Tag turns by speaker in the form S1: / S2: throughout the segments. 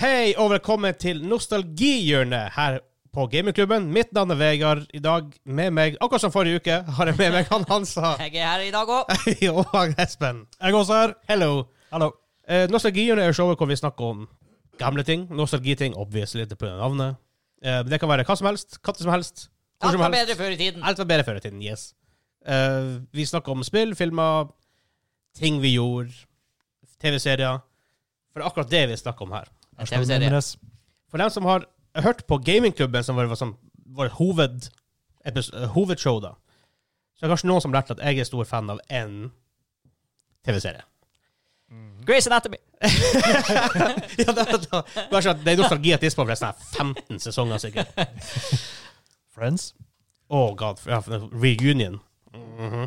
S1: Hei og velkommen til Nostalgihjørnet her på Gamingklubben. Mitt navn er Vegard. I dag med meg, akkurat som forrige uke, har jeg med meg han Hansa
S2: Jeg er her i dag òg.
S1: Hei, og han Espen.
S3: Jeg er også her.
S1: Hello.
S3: Hallo.
S1: Eh, Nostalgihjørnet er showet hvor vi snakker om gamle ting. Nostalgiting, obviously, det pga. navnet. Eh, men det kan være hva som helst, katter som helst, hvor
S2: Alt
S1: som
S2: var
S1: helst.
S2: bedre før i tiden.
S1: Alt var bedre før i tiden, yes. Eh, vi snakker om spill, filmer, ting vi gjorde, TV-serier. For det er akkurat det vi snakker om her.
S2: En TV-serie.
S1: For dem som har hørt på gamingklubben, som var, var sånn, vår hoved, epis- eh, hovedshow, da, så er det kanskje noen som lærte at jeg er stor fan av én TV-serie.
S2: Grace Anatomy.
S1: ja, da, da, bare sånn at det er nostalgi at Dispo ble sånn her 15 sesonger, sikkert. Å,
S3: Friends.
S1: Oh, god. for- Ja, for reunion. Mhm.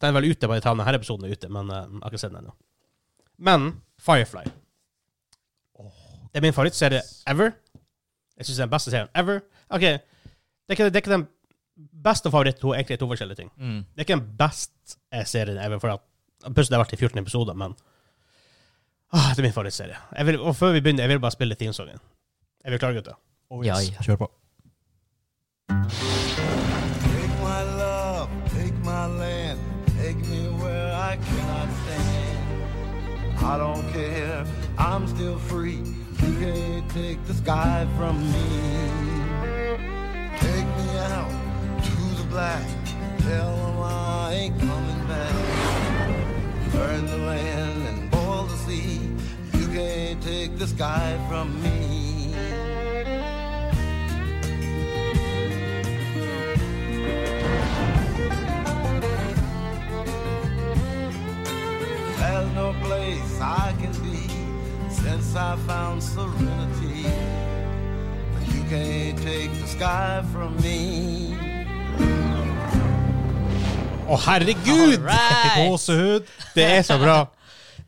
S1: Den er vel ute, bare ta denne episoden er ute, men eh, jeg har ikke sett den ennå. Men Firefly. Det er min favorittserie ever. Jeg syns det er den beste serien ever. OK, det er ikke, det er ikke den beste favoritten, hun er egentlig to forskjellige ting. Det er ikke den beste serien ever, for at Plutselig har det vært i 14 episoder, men ah, Det er min favorittserie. Jeg vil, og før vi begynner, jeg vil bare spille teamsongen. Er vi klare, gutter?
S3: Oh,
S2: yes. Ja, ja.
S3: Kjør på.
S4: Take my love, take my land, take me where I cannot stand. I don't care, I'm still free. You can't take the sky from me. Take me out to the black, tell 'em I ain't coming back. Burn the land and boil the sea. You can't take the sky from me. There's no place I can be since I found serenity. But you can't take the sky from me.
S1: Å, herregud!
S2: Right.
S3: Gåsehud.
S1: Det er så bra.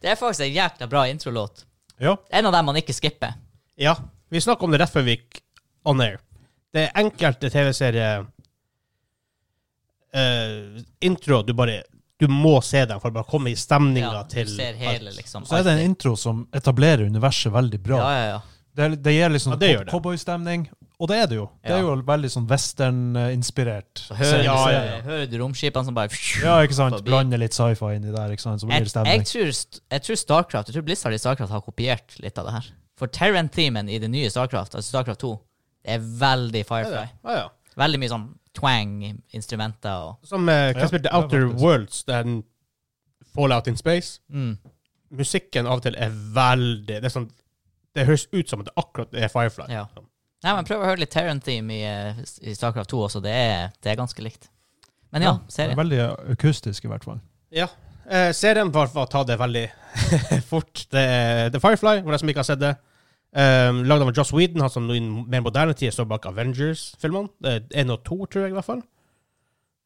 S2: Det er faktisk en jækla bra introlåt.
S3: Ja.
S2: En av dem man ikke skipper.
S1: Ja, vi snakket om det rett før vi gikk on air. Det er enkelte TV-serier eh, Intro, du bare Du må se dem for å bare komme i stemninga
S2: Ja,
S1: til
S2: du ser hele, liksom.
S3: Så er det en
S2: alltid.
S3: intro som etablerer universet veldig bra.
S2: Ja, ja, ja.
S3: Det, er- det gir liksom
S1: Ja, det gjør
S3: cow-
S1: det.
S3: cowboystemning. Og det er det jo. Det er
S2: Ja.
S3: jo veldig sånn western-inspirert.
S2: Så hører,
S1: Ja,
S2: du,
S1: ja, ja.
S2: hører du romskipene som bare
S3: Ja, ikke sant?
S2: Forbi.
S3: Blande litt sci-fi inni der, ikke sant? så blir
S2: jeg, jeg,
S3: det stemning.
S2: tror, st- jeg tror Starcraft Jeg tror Blizzard i Starcraft har kopiert litt av det her. For Terran-themen i det nye Starcraft, altså Starcraft 2, det er veldig Firefly.
S1: Ja, ja.
S2: Veldig mye sånn twang-instrumenter og
S1: Som uh,
S3: Ja,
S1: hva spilte
S3: det er
S1: Outer
S3: faktisk-
S1: Worlds, den Fallout in Space.
S2: mm.
S1: Musikken av og til er veldig Det er sånn Det høres ut som at det akkurat er Firefly.
S2: Ja. Nei, men prøv å høre litt Terran-theme i, eh, i Starcraft 2 også. Det er, det er ganske likt. Men ja,
S3: Det er
S2: serien.
S3: veldig akustisk, i hvert fall.
S1: Ja. Eh, serien var for å ta det veldig fort. Det er The Firefly, for de som ikke har sett det. Um, Lagd av Joss Whedon, han som nå i mer moderne tid står bak Avengers-filmene. Det er Én og to, tror jeg, i hvert fall.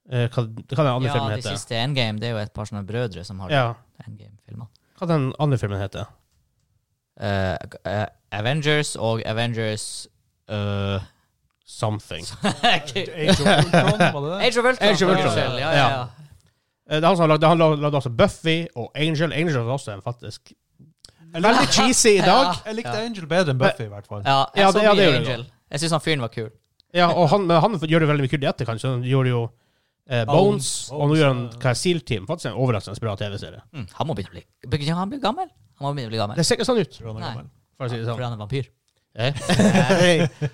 S1: Eh, hva, hva den andre
S2: Ja,
S1: filmen
S2: de
S1: heter
S2: siste Endgame, det er jo et par sånne brødre som har
S1: Ja.
S2: Endgame-filmer.
S1: Hva den andre filmen heter
S2: Eh, eh, Avengers og Avengers eh,
S1: Something.
S3: Age of Ultron, var det det?
S2: Age of Ultron.
S1: Age of
S2: for
S1: Ultron,
S2: eksempel. Ja, ja,
S1: ja.
S2: ja.
S1: Eh, det er han som har lagd han lag- lagde også Buffy og Angel. Angel var også en faktisk Veldig cheesy i dag.
S3: Jeg likte Angel bedre enn Buffy, i hvert fall.
S2: ja, jeg
S1: Ja,
S2: så
S1: det- ja,
S2: mye
S1: det gjorde
S2: Angel. Jeg syns han fyren var kul.
S1: Ja, og han, men han gjør det veldig mye kult i etterkant. Så han gjorde jo eh, Bones,
S3: Bones,
S1: og nå gjør han hva er Seal Team. Faktisk en overraskende bra TV-serie.
S2: Mm, han må begynne å bli begynne- Han blir gammel. Han må begynne å bli gammel.
S1: Det ser ikke sånn ut,
S3: Tror han er
S2: Nei.
S3: gammel.
S1: for å si det sånn.
S2: Fordi han er vampyr.
S1: Hey.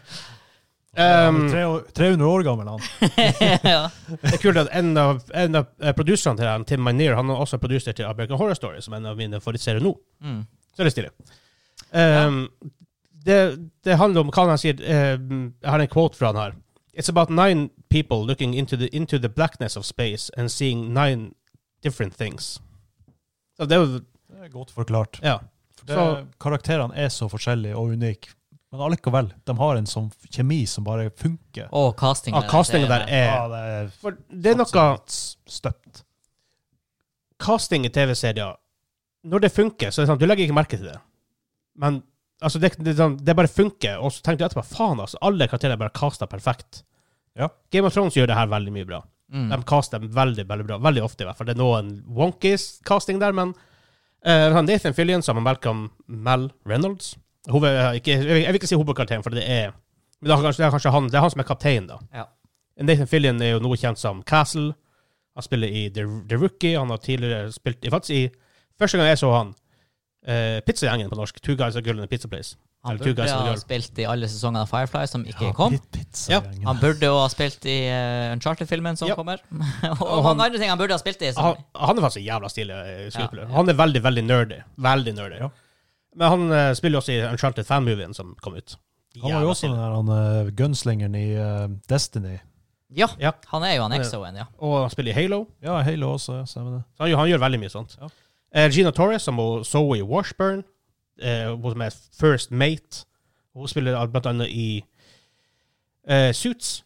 S3: Han
S1: um,
S3: er tre år- 300 år gammel, han.
S2: ja.
S1: det er kult at en av, en av eh, produserne til han, Tim Minear, han er også produser til American Horror Story, som er en av mine favorittserier nå.
S2: Mm.
S1: Så er det stille. Um, det, det handler om hva han sier eh, Jeg har en quote fra han her. It's about nine people looking into the, into the blackness of space and seeing nine different things. Så det er jo
S3: Det er godt forklart.
S1: Ja.
S3: Det,
S1: Så-
S3: karakterene er så forskjellige og unike. Men allikevel, de har en sånn kjemi som bare funker.
S2: Og castinga.
S1: Ah, castingen der
S3: Ja,
S1: er
S3: det er
S1: For det er noe
S3: absolutt støpt.
S1: casting i TV-serier Når det funker, så er det sånn, du legger ikke merke til det. Men altså, det, det, er sånn, det bare funker, og så tenker du etterpå faen, altså, alle karakterer er bare casta perfekt.
S3: Ja.
S1: Game of Thrones gjør det her veldig mye bra.
S2: Mm.
S1: De caster veldig veldig bra. Veldig ofte, i hvert fall. Det er noen wonkies casting der, men eh, han Nathan Fillion sammen med Malcolm Mel Reynolds Hoved, ikke, jeg, vil, jeg vil ikke si hovedkarakteren, for det er Men det er kanskje, det er kanskje han, det er han som er kaptein, da.
S2: Ja.
S1: Nathan Fillion er jo nå kjent som Castle. Han spiller i The, The Rookie. Han har tidligere spilt i faktisk i Første gang jeg så han, eh, Pizzagjengen på norsk, Two Guys and a Girl in a Pizza Place.
S2: Han
S1: Eller Two
S2: burde
S1: Guys and a
S2: ha
S1: Girl.
S2: spilt i alle sesongene av Firefly som ikke kom.
S1: Ja.
S3: Pizzagjengen.
S2: Han burde jo ha spilt i eh, Uncharted-filmen som
S1: Ja.
S2: kommer. og
S1: Og han- Ah,
S2: mange andre ting han burde ha spilt i. Som,
S1: Han, han er faktisk en jævla stilig eh, skuespiller.
S2: Ja, ja.
S1: Han er veldig, veldig nerdy. Veldig nerdy.
S3: Ja.
S1: Men han eh, spiller jo også i Uncharted fan-movien som kom ut.
S3: Han var
S1: Jævla
S3: jo også
S1: stilig.
S3: den der han, eh, gunslingeren i eh, Destiny.
S2: ja,
S1: Ja.
S2: han er jo han
S1: Ja.
S2: Exo-en, ja.
S1: Og han spiller i Halo.
S3: Ja, Halo også. Ja, stemmer det.
S1: Så han, gjør- han gjør veldig mye sånt.
S3: Ja.
S1: Eh, Gina Torres, som hun så i Washburn, eh, hun som er First Mate Hun spiller al- blant annet i eh, Suits,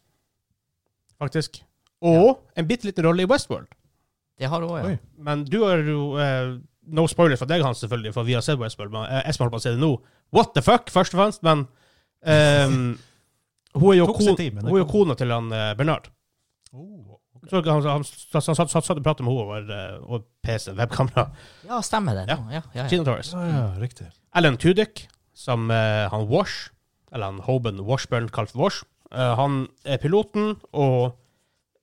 S1: faktisk. Og en bitte liten rolle i Westworld.
S2: Det har hun òg, ja.
S3: Oi.
S1: Men du har jo eh, No spoiler fra deg, Hans, selvfølgelig, for vi har sett Westworld. Men eh, Espen holdt på å si det nå. What the fuck, først og fremst, men ehm, hun, er jo
S3: Tok
S1: kon,
S3: sin tid, men det
S1: hun er jo
S3: kom.
S1: kona til han eh, Bernard.
S3: Oh,
S1: Så han, han, han, satt- han satt, satt, satt og pratet med henne over, eh, over PC-en, webkamera.
S2: Ja, stemmer det.
S1: Ja.
S2: nå. Ja, ja, ja.
S1: Gina Torres.
S3: Ja, ja, riktig.
S1: Alan Tudyk, som eh, han Wash, eller han Hoban Washburn, kalt Wash, eh, han er piloten og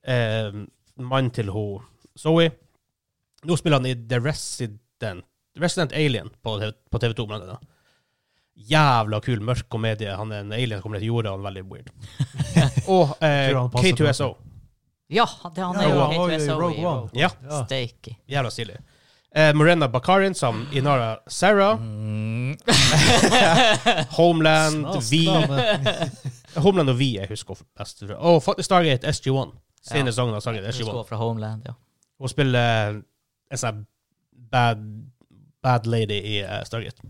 S1: eh, mannen til ho Zoe. Nå spiller han i The Resident, Resident Alien på TV, på TV 2, blant annet. Jævla kul mørk komedie. Han er en alien som kommer til jorda, og han er veldig weird. og eh,
S3: Tror han passer på
S1: K2SO.
S2: ja han- det, han er
S3: Ja,
S2: jo
S3: han var jo i
S2: K2SO i
S3: Rogue One.
S2: Rogue.
S1: Ja,
S3: Ja.
S2: Steaky.
S1: jævla stilig. Eh, Morena Bakarin som Inara Sarah.
S2: Mm.
S1: Homeland,
S3: Snas,
S1: Vi.
S3: da, men-
S1: Homeland og vi jeg husker best. tror jeg. Og faktisk Stargate SG-1. Sine
S2: Ja.
S1: sangen av Stargate
S2: Husker
S1: SG-1.
S2: hun fra Homeland, ja.
S1: Hun spiller eh, en sånn bad, bad lady i eh, Stargate.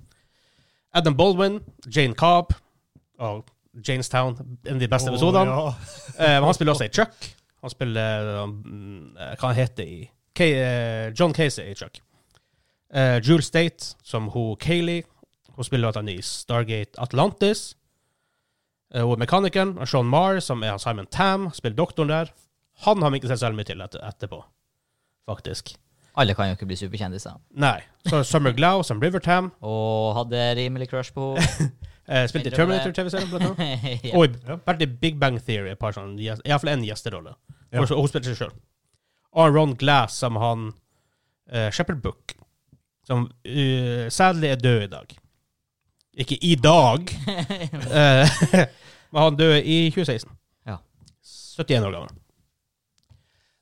S1: Adam Baldwin, Jane Cobb og Janestown. En av de beste episodene.
S3: Å,
S1: Eh, men han spiller også i Chuck. Han spiller eh, mm, eh, Hva han heter i K, eh, John Casey i Chuck. Eh, Jule State, som hun Kayleigh. Hun spiller blant annet i Stargate Atlantis. Eh, hun er mekanikeren. Og Sean Marr, som er han Simon Tam, spiller doktoren der. Han har vi ikke sett så veldig mye til etter, etterpå, faktisk.
S2: Alle kan jo ikke bli superkjendiser.
S1: Nei. Så er Summer Glau som River Tam.
S2: Og hadde rimelig crush på
S1: Eh, spilte i
S2: Mindre-
S1: Terminator-TV-serien, blant annet.
S2: henne. ja.
S1: Og i-
S3: Ja.
S1: vært i Big Bang Theory et par sånne, gjest- i hvert fall en gjesterolle.
S3: Ja.
S1: Og så- og hun spilte seg selv. Og Ron Glass, som han eh, Shepherd Book, som eh, sadly er død i dag. Ikke i dag, eh, men han døde i 2016.
S2: Ja.
S1: 71 år gammel.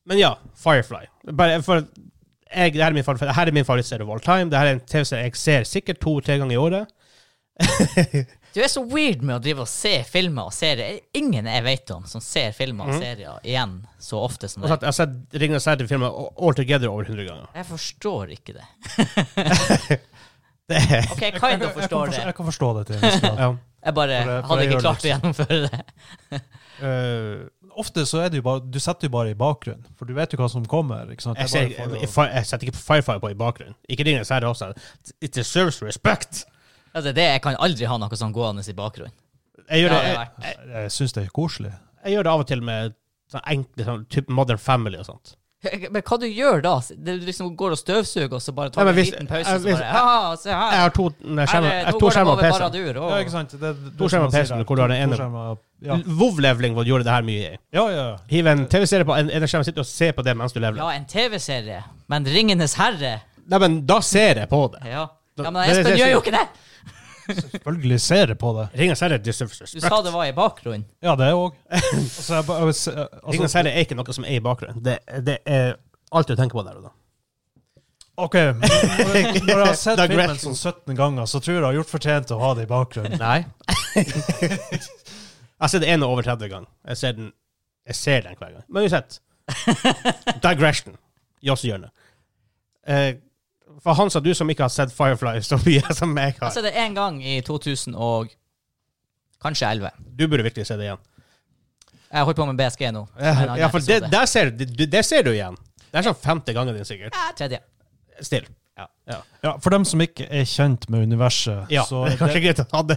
S1: Men ja, Firefly. Bare for jeg, det her er min, favor- det her er min favorittserie of all time. Det her er en TV-serie jeg ser sikkert to-tre ganger i året.
S2: Du er så weird med å drive og se filmer og serier. Ingen jeg vet om som ser filmer og serier igjen så ofte som
S1: Og
S2: deg.
S1: så at Jeg har sett Ringenes herre-filmer all together over 100 ganger.
S2: Jeg forstår ikke det.
S1: Det er
S2: OK, kind of
S3: Jeg kan,
S2: forstår
S3: forstå,
S2: det.
S3: jeg kan forstå det til en viss grad.
S1: Ja.
S2: Jeg bare
S3: For det- for
S2: hadde
S3: det
S2: ikke
S3: gjør
S2: klart å gjennomføre det.
S1: Øh,
S3: Eh, Ofte så er det jo bare, du setter jo bare i bakgrunnen, for du vet jo hva som kommer. ikke sant?
S1: jeg,
S3: Det
S1: ser,
S3: er
S1: jeg,
S3: bare for å-
S1: jeg setter ikke Firefly på i bakgrunnen. Ikke Ringenes herre også. It deserves respect!
S2: Altså, det. Jeg kan aldri ha noe sånn gående i bakgrunnen.
S1: Jeg gjør,
S2: Det
S1: det,
S2: hadde
S1: jeg,
S2: vært
S3: Jeg syns det er koselig.
S1: jeg gjør det av og til med sånn enkle sånn type Modern Family og sånt.
S2: Men hva du gjør da? Det du liksom går og støvsuger, og så bare tar
S1: Nei,
S2: du
S1: men
S2: en
S1: hvis-
S2: liten pause,
S1: jeg-
S2: og så
S1: hvis-
S2: bare Ja, se
S1: Jeg
S2: her.
S1: har to nei,
S2: Her,
S1: skjermer,
S2: eh,
S1: jeg har
S2: nå
S1: to
S2: går de
S1: skjermer
S2: over
S1: og PC.
S2: Baradur.
S3: Ja, ikke
S2: Og,
S3: sant? Det, det,
S1: To skjermer
S3: sier
S1: PC-en,
S3: der.
S1: hvor du har den
S3: To
S1: ene-
S3: skjermer- Ja,
S1: WoW-leveling gjorde det her mye i.
S3: ja. ja, ja.
S1: Hiv en TV-serie på en, en skjerm, sitt og se på det mens du leveler.
S2: ja, en TV-serie. Men 'Ringenes herre'
S1: Nei, men da ser jeg på det.
S2: Ja.
S1: Da-
S2: ja men
S1: det er det
S2: Espen
S1: jeg
S2: gjør
S1: sier.
S2: jo ikke det!
S3: Selvfølgelig ser jeg på det.
S1: Ringenes herre deserves
S2: Du sa
S1: respect.
S2: det var i bakgrunnen.
S3: Ja, det òg. Altså, jeg, bare- jeg, vil se- altså,
S1: Ringenes herre er ikke noe som er i bakgrunnen. Det, det er alt du tenker på der og da.
S3: OK. Når jeg- når jeg har sett
S1: Doug
S3: filmen
S1: Rasmussen.
S3: sånn 17 ganger, så tror jeg jeg har gjort fortjent til å ha det i bakgrunnen.
S1: Nei. jeg ser det ene over 30 ganger. Jeg ser den, jeg ser den hver gang. Men uansett. Digression. Jossehjørnet. Eh, for Hans og du som ikke har sett Firefly så mye som jeg
S2: Jeg
S1: har,
S2: så Altså, det én gang i 2000 og kanskje 11.
S1: du burde virkelig se det igjen.
S2: Jeg holder på med BSG nå. som er en annen
S1: Ja, for det,
S2: episode.
S1: der ser, du- det, det ser du igjen. Det er sånn femte gangen din sikkert.
S2: Ja, tredje.
S1: Still. Ja. ja.
S3: Ja, For dem som ikke er kjent med universet,
S1: ja.
S3: så,
S1: det er kanskje
S3: det,
S1: greit å ha det.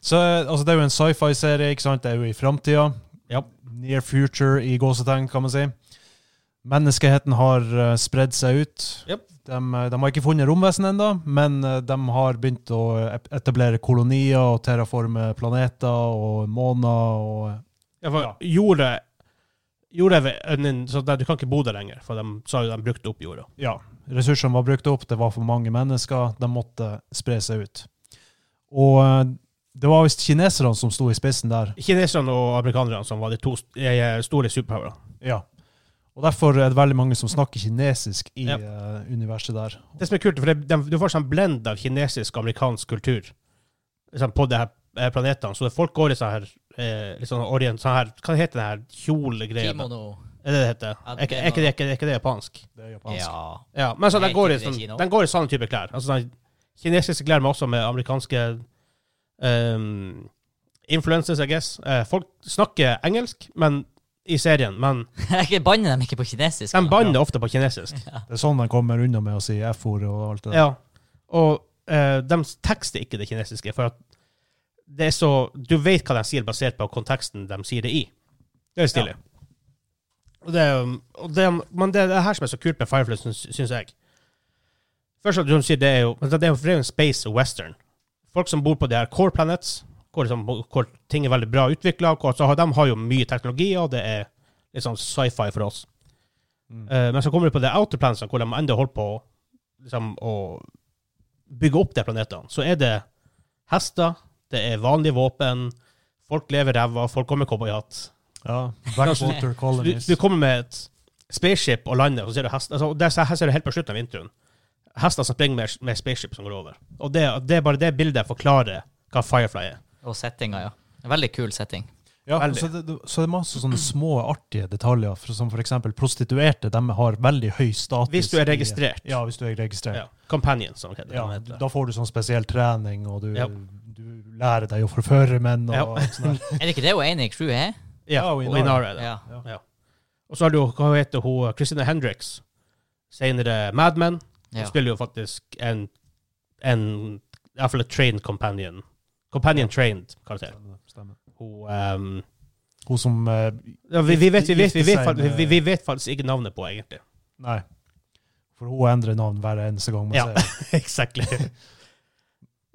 S3: så altså, det er jo en sci-fi-serie, ikke sant? Det er jo i framtida.
S1: Ja.
S3: Near future i gåsetegn, kan man si. Menneskeheten har eh, spredd seg ut.
S1: Yep.
S3: De, eh, de har ikke funnet romvesen ennå, men eh, de har begynt å ep- etablere kolonier og terraforme planeter og måner. og... eh,
S1: Ja, for
S3: Ja.
S1: jorda Jorda er en- en- øh, så der, Du kan ikke bo der lenger, for de sa jo de brukte opp jorda.
S3: ja, ressursene var brukt opp, det var for mange mennesker, de måtte spre seg ut. Og eh, det var visst kineserne som sto i spissen der.
S1: Kineserne og amerikanerne som var de to st- eh, store superpowerene.
S3: Ja. Og derfor er det veldig mange som snakker kinesisk i
S1: Ja.
S3: eh, universet der.
S1: Det som er kult, for det, de, du får sånn blend av kinesisk og amerikansk kultur liksom, på de her eh, planetene. Så det, folk går i sånn her eh, litt sånn orient, sånn her, Hva heter den her kjolegreia? da?
S2: Kimono.
S1: Er det det heter?
S2: Ja,
S1: Er ikke- er ikke det- er ikke- er ikke det japansk?
S3: Det er japansk.
S2: Ja.
S1: Ja, men så
S2: Nei,
S1: den går, i
S2: ikke det
S1: sånn,
S2: Kina.
S1: den går i sånne type klær. Altså, den kinesiske klær, men også med amerikanske ehm, influences, I guess. Eh, folk snakker engelsk men, i serien, men
S2: Jeg banner dem ikke på kinesisk.
S1: de
S2: da.
S1: banner ofte på kinesisk.
S3: Det er sånn de kommer unna med å si F-ordet og alt det der.
S1: Ja. Og eh, de tekster ikke det kinesiske, for at det er så Du vet hva de sier, basert på konteksten de sier det i. Det er stilig. Og det, er- og det, er- men det er det her som er så kult med Firefly, syns, syns jeg. Først at du sier det er jo men Det er jo for det er jo en space western. Folk som bor på de her core planets, hvor, liksom, hvor ting er veldig bra utvikla, de har jo mye teknologi, og det er liksom sci-fi for oss.
S3: Mm.
S1: Eh, men så kommer du på de outer planetsene, hvor de enda holder på å liksom, å bygge opp de planetene, så er det hester, det er vanlige våpen, folk lever ræva, folk kommer med cowboyhatt.
S3: Ja. Blackwater
S1: Du,
S3: Colonies.
S1: du kommer med et spaceship og lander, og så ser du hester. Altså, og der, her ser du helt på slutten av vinteren. Hester som springer med, med spaceship som går over. Og det, det er bare det bildet forklarer hva Firefly er.
S2: Og settinga, ja. Veldig kul setting.
S3: Ja,
S1: Veldig.
S3: så, det, det- så det er masse sånne små, artige detaljer, for, som f.eks. prostituerte. De har veldig høy status.
S1: Hvis du er
S3: i-
S1: registrert.
S3: Ja, hvis du er registrert.
S1: Ja. Companions, som det
S3: Ja,
S1: heter.
S3: da får du sånn spesiell trening, og du,
S1: Ja.
S3: du lærer deg å forføre menn. og
S1: Ja.
S3: alt sånt der.
S2: Er det ikke det hun ene i crewet er?
S1: Ja,
S3: Ja,
S1: og
S3: og
S1: Inara er det.
S2: Ja.
S1: Og så har du jo- hva heter hun, Christina Hendricks, senere Mad Men. Hun
S2: ja.
S1: spiller jo faktisk en, en Iallfall et trained companion. Companion trained karakter.
S3: Stemmer.
S1: Hun ehm,
S3: Hun som eh,
S1: ja, vi, vi, vet, vi, vet, vi, vet,
S3: Gifte seg
S1: fakt-
S3: med-
S1: vi, vi vet faktisk ikke navnet på, egentlig.
S3: Nei. For hun endrer navn hver eneste gang man
S1: Ja.
S3: ser henne.
S1: exactly.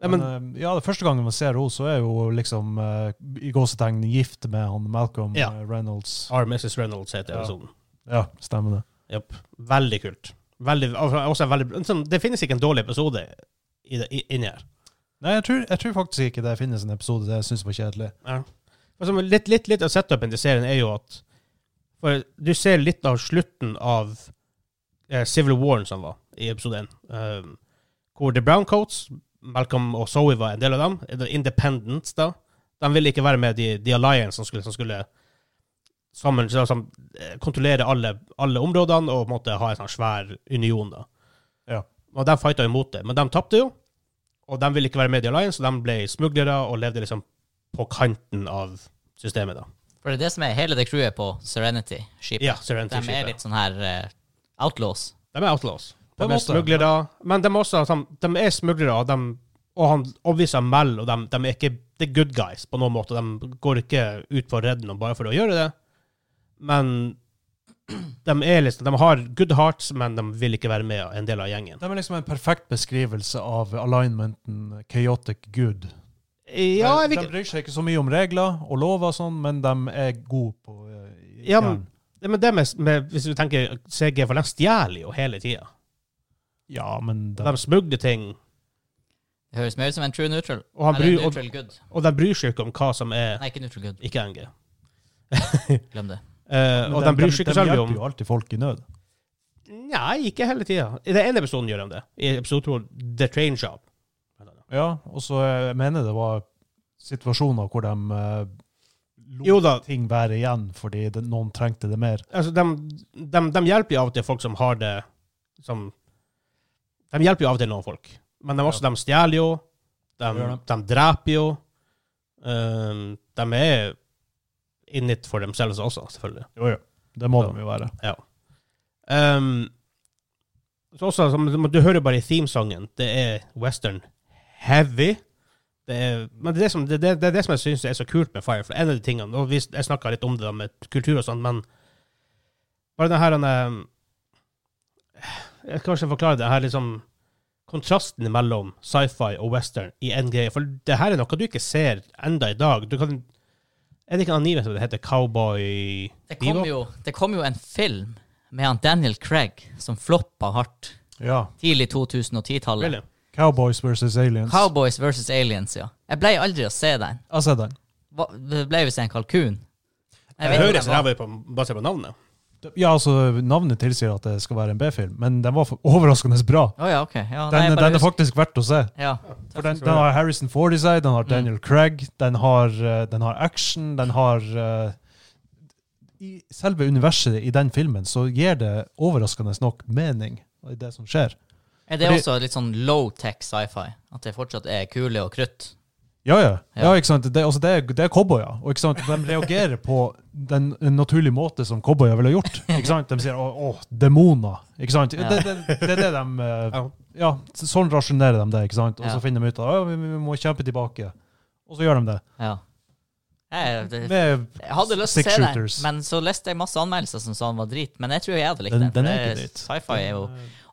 S1: Nei, men,
S3: Men, eh, ja, det første gangen man ser henne, så er hun liksom eh, i gåsetegn gift med han Malcolm
S1: Ja.
S3: eh, Reynolds.
S1: R. Mrs. Reynolds heter
S3: Ja.
S1: episoden.
S3: Ja, stemmer det.
S1: Jopp. Veldig kult. Veldig, også en veldig, sånn, det finnes ikke en dårlig episode i det, i, inni her.
S3: Nei, jeg tror, jeg tror faktisk ikke det finnes en episode det jeg syns var kjedelig.
S1: Ja. Altså, men litt, litt, litt av setupen til serien er jo at for Du ser litt av slutten av eh, Civil War som var i episode 1. Um, hvor The Browncoats, Malcolm og Zoe var en del av dem. The Independents, da. De ville ikke være med de, de Alliance som skulle, som skulle sammen, så- som, eh, kontrollere alle, alle områdene og på en måte ha en sånn svær union, da.
S3: Ja.
S1: Og de fighta jo mot det, men de tapte jo. Og de ville ikke være med i The Alliance, så de ble smuglere og levde liksom på kanten av systemet, da.
S2: For det er det som er hele det crewet på Serenity. Skipet.
S1: Ja, Serenity
S2: de er
S1: Ship.
S2: litt sånn her eh, outlaws.
S1: De er outlaws.
S3: På
S1: De
S3: en
S1: er
S3: måte.
S1: smuglere. Men de er også sånn, de er smuglere, og, de, og han overbeviser Mel, og de, de er ikke the good guys på noen måte. De går ikke ut for å redde noen bare for å gjøre det. Men de, er liksom, de har good hearts, men de vil ikke være med en del av gjengen.
S3: Det er liksom en perfekt beskrivelse av alignmenten chaotic good.
S1: Ja, jeg vil
S3: de bryr seg ikke så mye om regler og lover og sånn, men de er gode på eh, i
S1: Ja,
S3: kjernen.
S1: ikke Men det med, med Hvis du tenker CG, for de stjeler jo hele tida.
S3: ja, men de,
S1: De smugler ting,
S2: Det høres mer ut som en true neutral.
S1: og, han
S2: Eller
S1: bryr, og,
S2: neutral good.
S1: og de bryr seg ikke om hva som er
S2: Nei, ikke neutral good.
S1: ikke-NG.
S2: Glem det.
S1: Eh,
S3: men
S1: og de bryr seg ikke så
S3: de
S1: veldig om
S3: hjelper jo alltid folk i nød.
S1: Nei, ikke hele tida. I den ene episoden gjør de det. I episode to, The Train Shop.
S3: Ja, og så eh, jeg mener det var situasjoner hvor de eh, lot
S1: Jo da.
S3: ting være igjen fordi det, noen trengte det mer.
S1: Altså, de, de, de hjelper jo av og til folk som har det som De hjelper jo av og til noen folk, men de, også, de stjeler jo. De,
S3: Det gjør
S1: de dreper jo. Ehm, de er in it for themselves også, selvfølgelig.
S3: Jo, jo. Det må
S1: Ja.
S3: de jo være.
S1: Ehm, så også, som, du hører jo bare i themesangen, det er western heavy. Det er, men det er det som, det, det, det, er det som jeg syns er så kult med Firefly. En av de tingene, og vi, jeg snakka litt om det da med kultur og sånn, men bare den her den, eh, jeg skal kanskje forklare det her liksom kontrasten mellom sci-fi og western i en greie. For det her er noe du ikke ser enda i dag. Du kan Er det ikke en anime som det heter Cowboy
S2: Det kom,
S1: Bebop?
S2: jo, det kom jo en film med han Daniel Craig som floppa hardt
S3: Ja.
S2: tidlig 2010-tallet.
S1: Really?
S3: Cowboys versus aliens.
S2: Cowboys versus aliens, ja. Jeg ble aldri å se den.
S3: Jeg har sett den.
S2: Hva, det ble visst en kalkun. Jeg
S1: Det
S2: vet
S1: høres
S2: ikke hva-
S1: ræva ut på- basert på navnet.
S3: Ja, altså, navnet tilsier at det skal være en B-film, men den var for- overraskende bra.
S2: Å ja, ok. Ja, nei,
S3: Den,
S2: jeg bare
S3: den er
S2: husker-
S3: faktisk verdt å se.
S2: ja.
S3: For den, den har Harrison Ford i seg, den har Daniel Craig, den har, eh, den har action, den har eh, I selve universet i den filmen så gir det overraskende nok mening i det som skjer.
S2: Er det
S3: Fordi-
S2: også litt sånn low-tech sci-fi? At det fortsatt er kule og krutt?
S3: Ja, ja. ja
S2: Ja.
S3: ikke sant? Det, altså, det, er- det er cowboyer. Og ikke sant? de reagerer på den en naturlig måte som cowboyer ville ha gjort. Ikke sant? De sier 'å, å, demoner'. Ikke sant?
S2: Ja.
S3: Det, det, det er det de eh,
S1: Ja.
S3: Ja, så- sånn rasjonerer de det. ikke sant? Og
S2: Ja.
S3: så finner de ut av «Å, vi, vi må kjempe tilbake. Og så gjør de det.
S2: Ja. Jeg, det,
S3: Med,
S2: jeg hadde lyst til å
S3: Six
S2: se den,
S3: shooters.
S2: men så leste jeg masse anmeldelser som sa den var drit. Men jeg tror jeg hadde likt
S3: Den-
S2: den. for
S3: den er
S2: det-
S3: ikke drit.
S2: Sci-fi er jo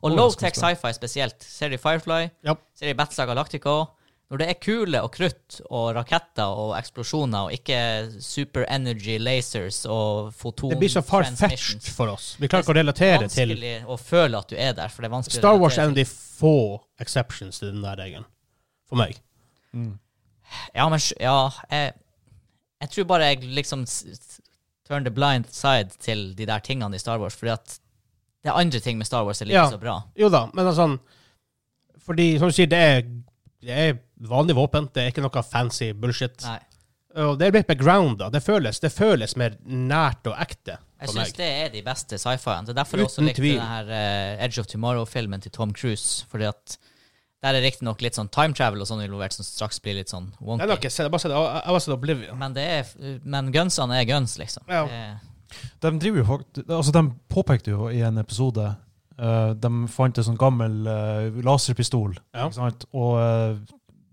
S2: Og
S3: Overraskende
S2: low-tech
S3: bra.
S2: sci-fi spesielt. Ser de Firefly,
S1: Ja.
S2: ser de Batsa Galactica. Når det er kule og krutt og raketter og eksplosjoner og ikke super energy lasers og foton
S1: Det blir så
S2: transmissions.
S1: far-fetched for oss. Vi klarer ikke å relatere til
S2: Vanskelig å føle at du er der, for det er vanskelig å
S1: Star Wars er en
S2: relatere
S1: av de få exceptions til den der regelen. For meg.
S2: Ja, men sj- ja, jeg, jeg tror bare jeg liksom s- s- turn the blind side til de der tingene i Star Wars, fordi at det er andre ting med Star Wars er like
S1: Ja.
S2: så bra.
S1: Jo da, men altså Fordi, som du sier, det er, det er vanlig våpen. Det er ikke noe fancy bullshit.
S2: Nei.
S1: Og det er blitt begrounda. Det føles, det føles mer nært og ekte
S2: Jeg
S1: for
S2: syns
S1: meg.
S2: det er de beste sci-fiene. Det er derfor jeg også
S1: Uten
S2: likte
S1: tvil.
S2: den her eh, Edge of Tomorrow-filmen til Tom Cruise, fordi at der er riktignok litt sånn time travel og sånn involvert, som straks blir litt sånn
S1: Jeg har
S2: wonky.
S1: ikke sett, jeg har bare sett, jeg har bare sett Oblivion.
S2: Men, det er, men gunsene er guns, liksom.
S1: Ja.
S2: Det er-
S3: De driver jo fakt- altså de påpekte jo i en episode eh, De fant en sånn gammel eh, laserpistol,
S1: Ja.
S3: ikke sant? Og eh,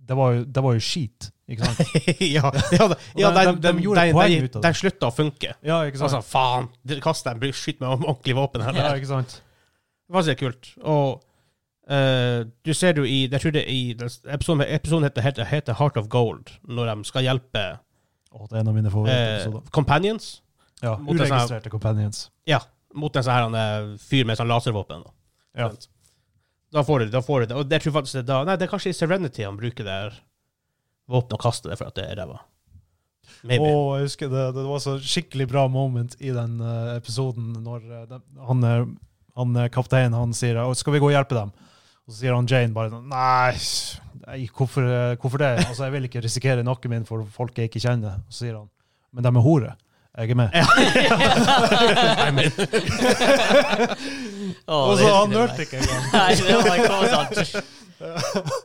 S3: det, var jo, det var jo skit, ikke sant?
S1: ja, ja, da- ja
S3: Og de-
S1: den,
S3: de-
S1: den,
S3: de
S1: den,
S3: gjorde
S1: den,
S3: poeng
S1: den,
S3: ut av det.
S1: slutta å funke.
S3: Ja, ikke
S1: Altså,
S3: sant?
S1: faen! Kast den, bry- skyt meg med ordentlig våpen. Her.
S3: Ja, ikke sant?
S1: Det var så kult. Og eh, du ser jo i Jeg tror det er i den s- episoden, episoden heter, heter, heter Heart of Gold, når de skal hjelpe
S3: Å, det er en av mine
S1: eh,
S3: favorittepisoder.
S1: companions
S3: Ja,
S1: mot en sånn her-
S3: uregistrerte companions.
S1: mot en sånn her han, eh, fyr med sånn laservåpen. Da.
S3: Ja.
S1: Sant? Da får du det. Da får du det. Og det tror jeg faktisk det er da Nei, det er kanskje i Serenity han bruker det her våpenet og kaster det for at det er ræva.
S3: Å,
S1: Maybe.
S3: jeg husker det, det var så skikkelig bra moment i den eh, episoden når eh, de, han, eh, han eh, kapteinen han sier «Å, 'Skal vi gå og hjelpe dem?' Og så sier han Jane bare sånn 'Nei, nei hvorfor, eh, hvorfor det?' Altså, 'Jeg vil ikke risikere nakken min for folk jeg ikke kjenner.' Og så sier han 'Men de er horer. Jeg er med.'
S2: Å, det
S3: Og så
S2: husker
S3: han
S2: jeg
S3: nølte
S2: meg.
S3: ikke engang.
S2: Nei, det var ikke sånn.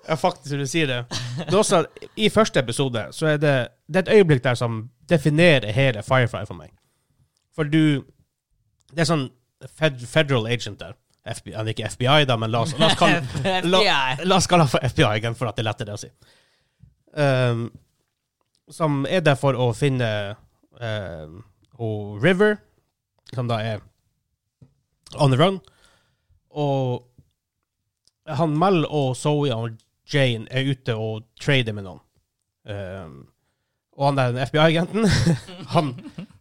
S1: Ja, faktisk, du sier det. det er også, I første episode så er det, det er et øyeblikk der som definerer hele Firefly for meg. For du Det er sånn fed, federal agent der. FBI, han er ikke FBI, da, men la oss, la oss kalle
S2: FBI.
S1: La oss kalle han for FBI igjen, for at det er lettere å si. Ehm, som er der for å finne ehm, hun River, som da er on the run. Og han Mel og Zoe og Jane er ute og trader med noen. Ehm, og han der FBI-agenten, han,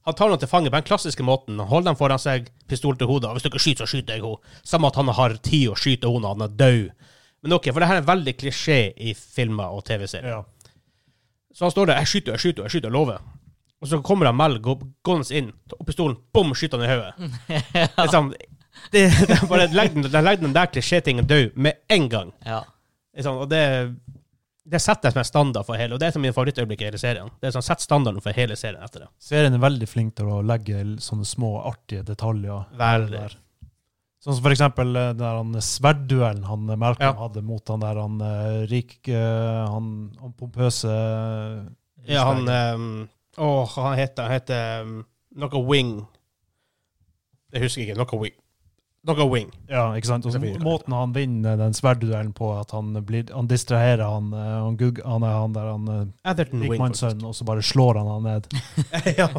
S1: han tar noen til fange på den klassiske måten. Han holder dem foran seg, pistol til hodet. og Hvis du ikke skyter, så skyter jeg henne. Samme at han har tid å skyte henne når han er død. Men ok, for det her er veldig klisjé i filmer og TV-serier.
S3: Ja.
S1: Så han står der, jeg skyter, jeg skyter, jeg skyter, jeg lover. Og så kommer han Mel gå- gående inn, tar opp pistolen, bom, skyter han i hodet. Det er sånn, det, det er bare legg den, legg den der klisjétingen død med en gang.
S2: Ja.
S1: Det er sånn, og det, det setter som en standard for hele, og det er et av mine favorittøyeblikk i hele serien. Det er sånn, sett standarden for hele serien etter det.
S3: Serien er veldig flink til å legge l- sånne små, artige detaljer.
S1: Veldig.
S3: Der. Sånn som for eksempel eh, der han sverdduellen han eh, Malcolm
S1: Ja.
S3: hadde mot han der han eh, rik eh, han, han pompøse eh,
S1: Ja, han, ehm, åh, han heter, han heter ehm, noe Wing. Jeg husker ikke, noe Wing. Noe Wing.
S3: Ja, ikke sant? Og så
S1: Selvfølgelig.
S3: måten han vinner den sverdduellen på, at han, blir, han distraherer han, eh, han, gugg, han, er han der han eh,
S1: Atherton Wing,
S3: rikmannens
S1: Mm. faktisk.
S3: sønn, og så bare slår han han ned.
S1: ja.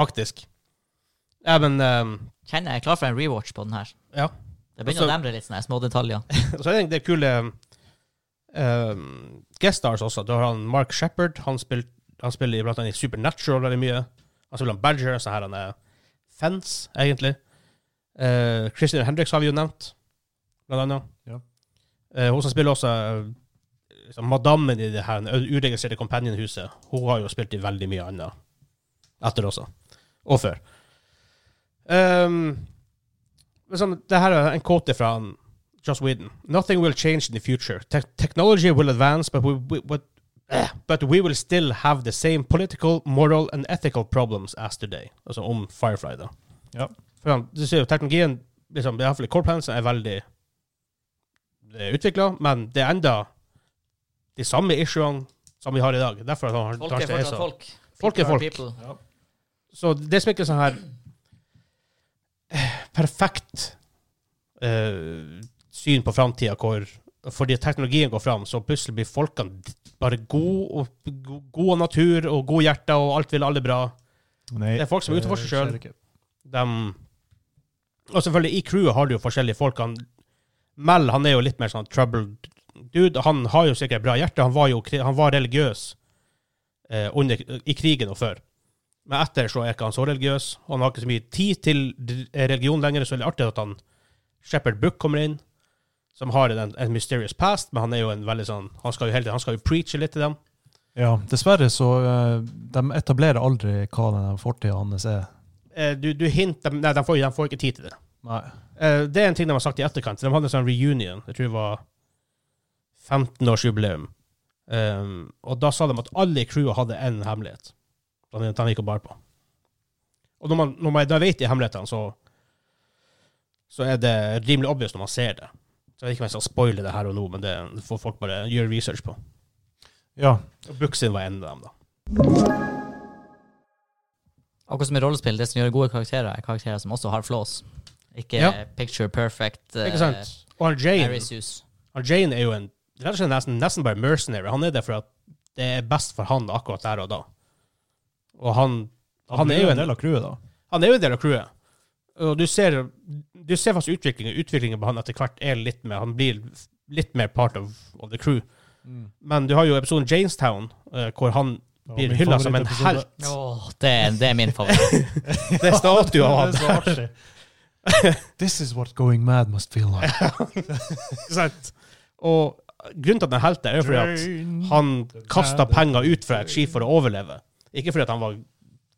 S1: Faktisk. ehm, Ja, men ehm,
S2: Kjenner jeg er klar for en rewatch på den her.
S1: Ja.
S2: Det begynner å
S1: Altså-
S2: demre litt sånne små detaljer.
S1: Så er det, det er kule um, guest stars også. Du har han Mark Shepherd. Han, spill, han spiller i blant annet i Supernatural veldig mye. Han spiller han Badger, så her han er Fence, egentlig. Uh, Christian Hendricks har vi jo nevnt, blant annet.
S3: Ja.
S1: Eh, hun som spiller også eh, liksom, madammen i det her u- uregistrerte Companion-huset. Hun har jo spilt i veldig mye annet etter også. Og før. Um, liksom, det her er en quote fra han Joss Whedon. Nothing will change in the future. Te technology will advance, but we, we, but, eh, but we will still have the same political, moral and ethical problems as today. Altså om Firefly, da.
S3: Ja.
S1: For han, du ser jo teknologien, liksom, i hvert fall i Core Plansen, er veldig utvikla, men det er enda de samme issuene som vi har i dag. Derfor at han,
S2: Folk er
S1: kanskje er
S2: fortsatt
S1: så
S2: folk.
S1: Folk er
S2: People are
S1: folk.
S2: people.
S1: Så det som ikke er sånn her eh, perfekt eh, syn på framtida, hvor fordi teknologien går fram, så plutselig blir folkene d- bare gode og go- god av natur og gode hjerter, og alt vil alle bra.
S3: Nei,
S1: Det er folk som er ute for seg selv.
S3: Eh, skjer ikke.
S1: Dem- og selvfølgelig, i crewet har du jo forskjellige folk. Han, Mel han er jo litt mer sånn troubled dude. Han har jo sikkert bra hjerte. Han var jo kri- han var religiøs eh, under, i krigen og før. Men etter så er ikke han så religiøs. og Han har ikke så mye tid til d- religion lenger. Så er det artig at han Shepherd Brook kommer inn, som har en, en mysterious past, men han er jo en veldig sånn Han skal jo hele tiden, han skal jo preache litt til dem.
S3: Ja, dessverre så eh, De etablerer aldri hva den fortida hans er.
S1: Eh, du, du hinter Nei, de får, de får ikke tid til det.
S3: Nei.
S1: Eh, det er en ting de har sagt i etterkant. De hadde en sånn reunion. Jeg tror det var 15-årsjubileum. Um, og da sa de at alle i crewet hadde én hemmelighet. Den den gikk og bar på. Og når man, når man da vet de hemmelighetene, så, så er det rimelig obvious når man ser det. Så jeg vet ikke om jeg skal spoile det her og nå, men det får folk bare gjøre research på.
S3: Ja.
S1: Og Buksin var en av dem, da.
S2: Akkurat som i rollespill, det som gjør gode karakterer, er karakterer som også har flaws. Ikke
S1: Ja.
S2: eh, picture perfect. eh,
S1: Ikke sant? Og han Jane,
S2: Mary Sue.
S1: han Jane er jo en rett og slett nesten, nesten bare mercenary. Han er det for at det er best for han akkurat der og da. Og han, han, er, jo en,
S3: del av crewet, da.
S1: han er jo en del av crewet. Og du ser, du ser faktisk utviklingen. Utviklingen på han etter hvert er litt mer Han blir litt mer part of, of the crew.
S3: Mm.
S1: Men du har jo episoden Janestown, eh, hvor han
S3: Det var
S1: blir
S3: min
S1: hylla som en
S3: favorittepisode.
S1: helt.
S2: Åh, det, er- det er min favoritt.
S1: Det er statue av han.
S3: Det er så artig. This is what going mad must feel like.
S1: Ikke sant? Og grunnen til at han er helt der, er jo fordi at han kasta penger ut fra et skip for å overleve. Ikke fordi at han var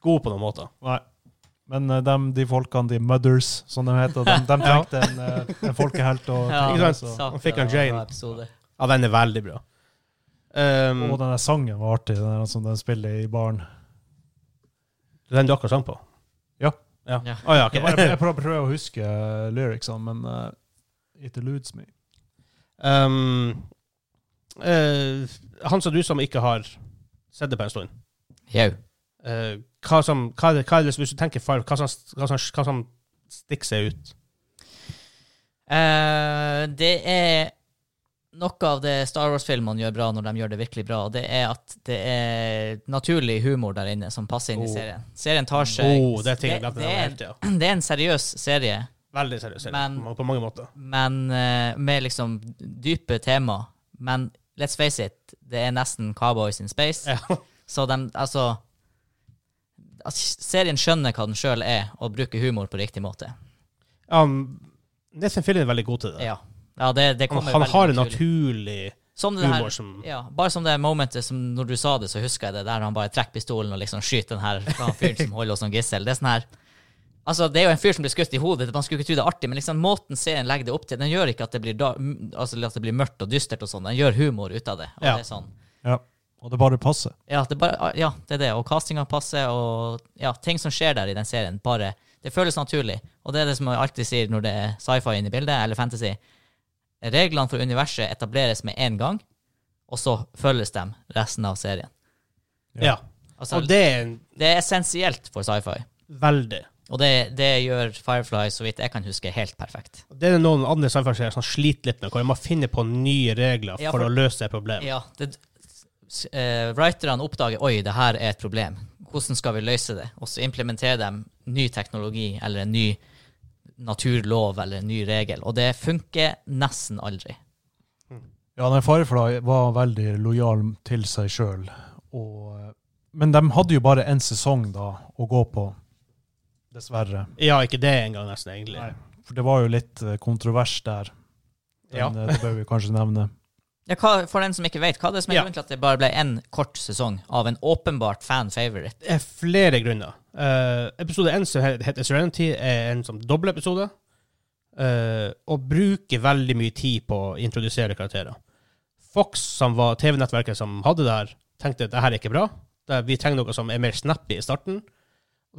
S1: god på noen måte.
S3: Nei. Men eh, dem, de folkene, de mothers, som de heter, de, de trengte en, eh, en folkehelt. Og,
S2: Ja,
S1: Ikke sant?
S3: så-
S2: saken
S1: fikk han
S2: av en
S1: Jane.
S2: bra episode.
S1: Ja, den er veldig bra. Um,
S3: og den der sangen var artig, den der som de spiller i baren.
S1: den du akkurat sang på?
S3: Ja.
S1: Ja.
S2: Ja.
S1: Å, ja, ok.
S3: Jeg, bare- jeg prøver, prøver å huske eh, lyricsene, men eh, it eludes me.
S1: Um, eh, han som du som ikke har sett det på en stund,
S2: Jau.
S1: eh, hva, som, hva, er det, hva er det, hvis du tenker Five, hva som, hva som, hva som stikker seg ut?
S2: Eh, det er noe av det Star Wars-filmene gjør bra når de gjør det virkelig bra, og det er at det er naturlig humor der inne som passer inn i
S1: Oh.
S2: serien. Serien tar seg
S1: Oh, det er ting jeg
S2: det,
S1: glemte
S2: det,
S1: hele
S2: er,
S1: tida.
S2: en- det er en seriøs serie,
S1: Veldig seriøst,
S2: Men-
S1: på mange måter.
S2: men eh, med liksom dype tema. Men let's face it, det er nesten Cowboys in Space.
S1: Ja.
S2: Så de, altså altså, Serien skjønner hva den sjøl er, og bruker humor på riktig måte.
S1: Um, Nathan Fillion er veldig god til det.
S2: Ja, ja det, det
S1: Han,
S2: kommer
S1: han
S2: veldig
S1: har en
S2: naturlig.
S1: naturlig
S2: Som det
S1: humor
S2: her,
S1: som
S2: ja, bare som det momentet som når du sa det, så husker jeg det der han bare trekker pistolen og liksom skyter den her faen fyren som holder oss som gissel. Det er sånn her Altså, det er jo en fyr som blir skutt i hodet, man skulle ikke tro det er artig, men liksom måten serien legger det opp til, den gjør ikke at det blir, da, m- altså, at det blir mørkt og dystert og sånn, den gjør humor ut av det. Og
S1: Ja.
S2: det er sånn.
S3: Ja. Og det bare passer.
S2: Ja, det bare, ah, ja, det er det. Og castinga passer, og ja, ting som skjer der i den serien, bare Det føles naturlig. Og det er det som jeg alltid sier når det er sci-fi inne i bildet, eller fantasy. Reglene for universet etableres med én gang, og så følges de resten av serien.
S1: Ja.
S2: Altså,
S1: Og
S2: det,
S1: det er en-
S2: er essensielt for sci-fi.
S1: veldig
S2: Og det, det gjør Firefly, så vidt jeg kan huske, helt perfekt.
S1: Det er noen andre samfunnsserier som sliter litt med, hvor de må finne på nye regler
S2: Ja,
S1: for,
S2: for-
S1: å løse et problem.
S2: Ja, det, s- eh, writerne oppdager oi, det her er et problem. Hvordan skal vi løse det? Og så implementerer de ny teknologi eller en ny naturlov eller en ny regel, og det funker nesten aldri.
S3: Ja, nei, Firefly var veldig lojal til seg sjøl. Men de hadde jo bare én sesong da å gå på, dessverre.
S1: Ja, ikke det engang, nesten, egentlig.
S3: Nei. For det var jo litt eh, kontrovers der. Den,
S1: Ja.
S3: eh, Det bør vi kanskje nevne.
S2: Ja, hva, for den som ikke vet, hva er det som er
S1: Ja.
S2: grunnen til at det bare ble én kort sesong av en åpenbart fan favorite?
S1: Det er flere grunner. Eh, episode 1 som het- heter Serenity, er en sånn dobbeltepisode. eh, og bruker veldig mye tid på å introdusere karakterer. Fox, som var TV-nettverket som hadde det her, tenkte at det her er ikke bra. Det, vi trenger noe som er mer snappy i starten.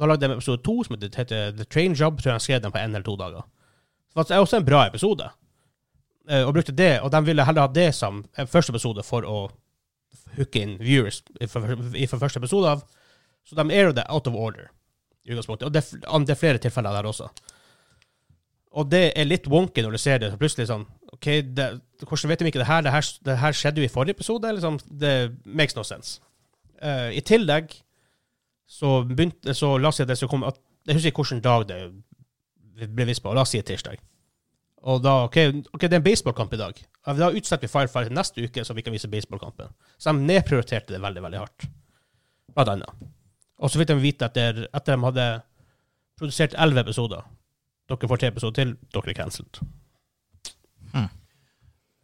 S1: Og da lagde de episode 2, som heter- heter The Train Job. Tror jeg han skrev den på en eller to dager. Så det er også en bra episode. Eh, og brukte det, og de ville heller ha det som en første episode for å hooke inn viewers fra første episode av. Så de er jo det out of order i utgangspunktet. Og det, er fl- an- det er flere tilfeller der også. Og det er litt wonky når du ser det, så plutselig sånn OK, det, hvordan vet de ikke det her? Det her, det her skjedde jo i forrige episode. Liksom, det makes no sense. Eh, I tillegg så begynte Så la oss si at det skulle komme at, Jeg husker ikke hvilken dag det ble vist på. La oss si tirsdag. Og da OK, ok, det er en baseballkamp i dag. Ja, Da utsetter vi Firefly til neste uke, så vi kan vise baseballkampen. Så de nedprioriterte det veldig, veldig hardt. Blant annet. Og så fikk de vite etter at de hadde produsert elleve episoder. Dere får tre episoder til, dere er cancelled.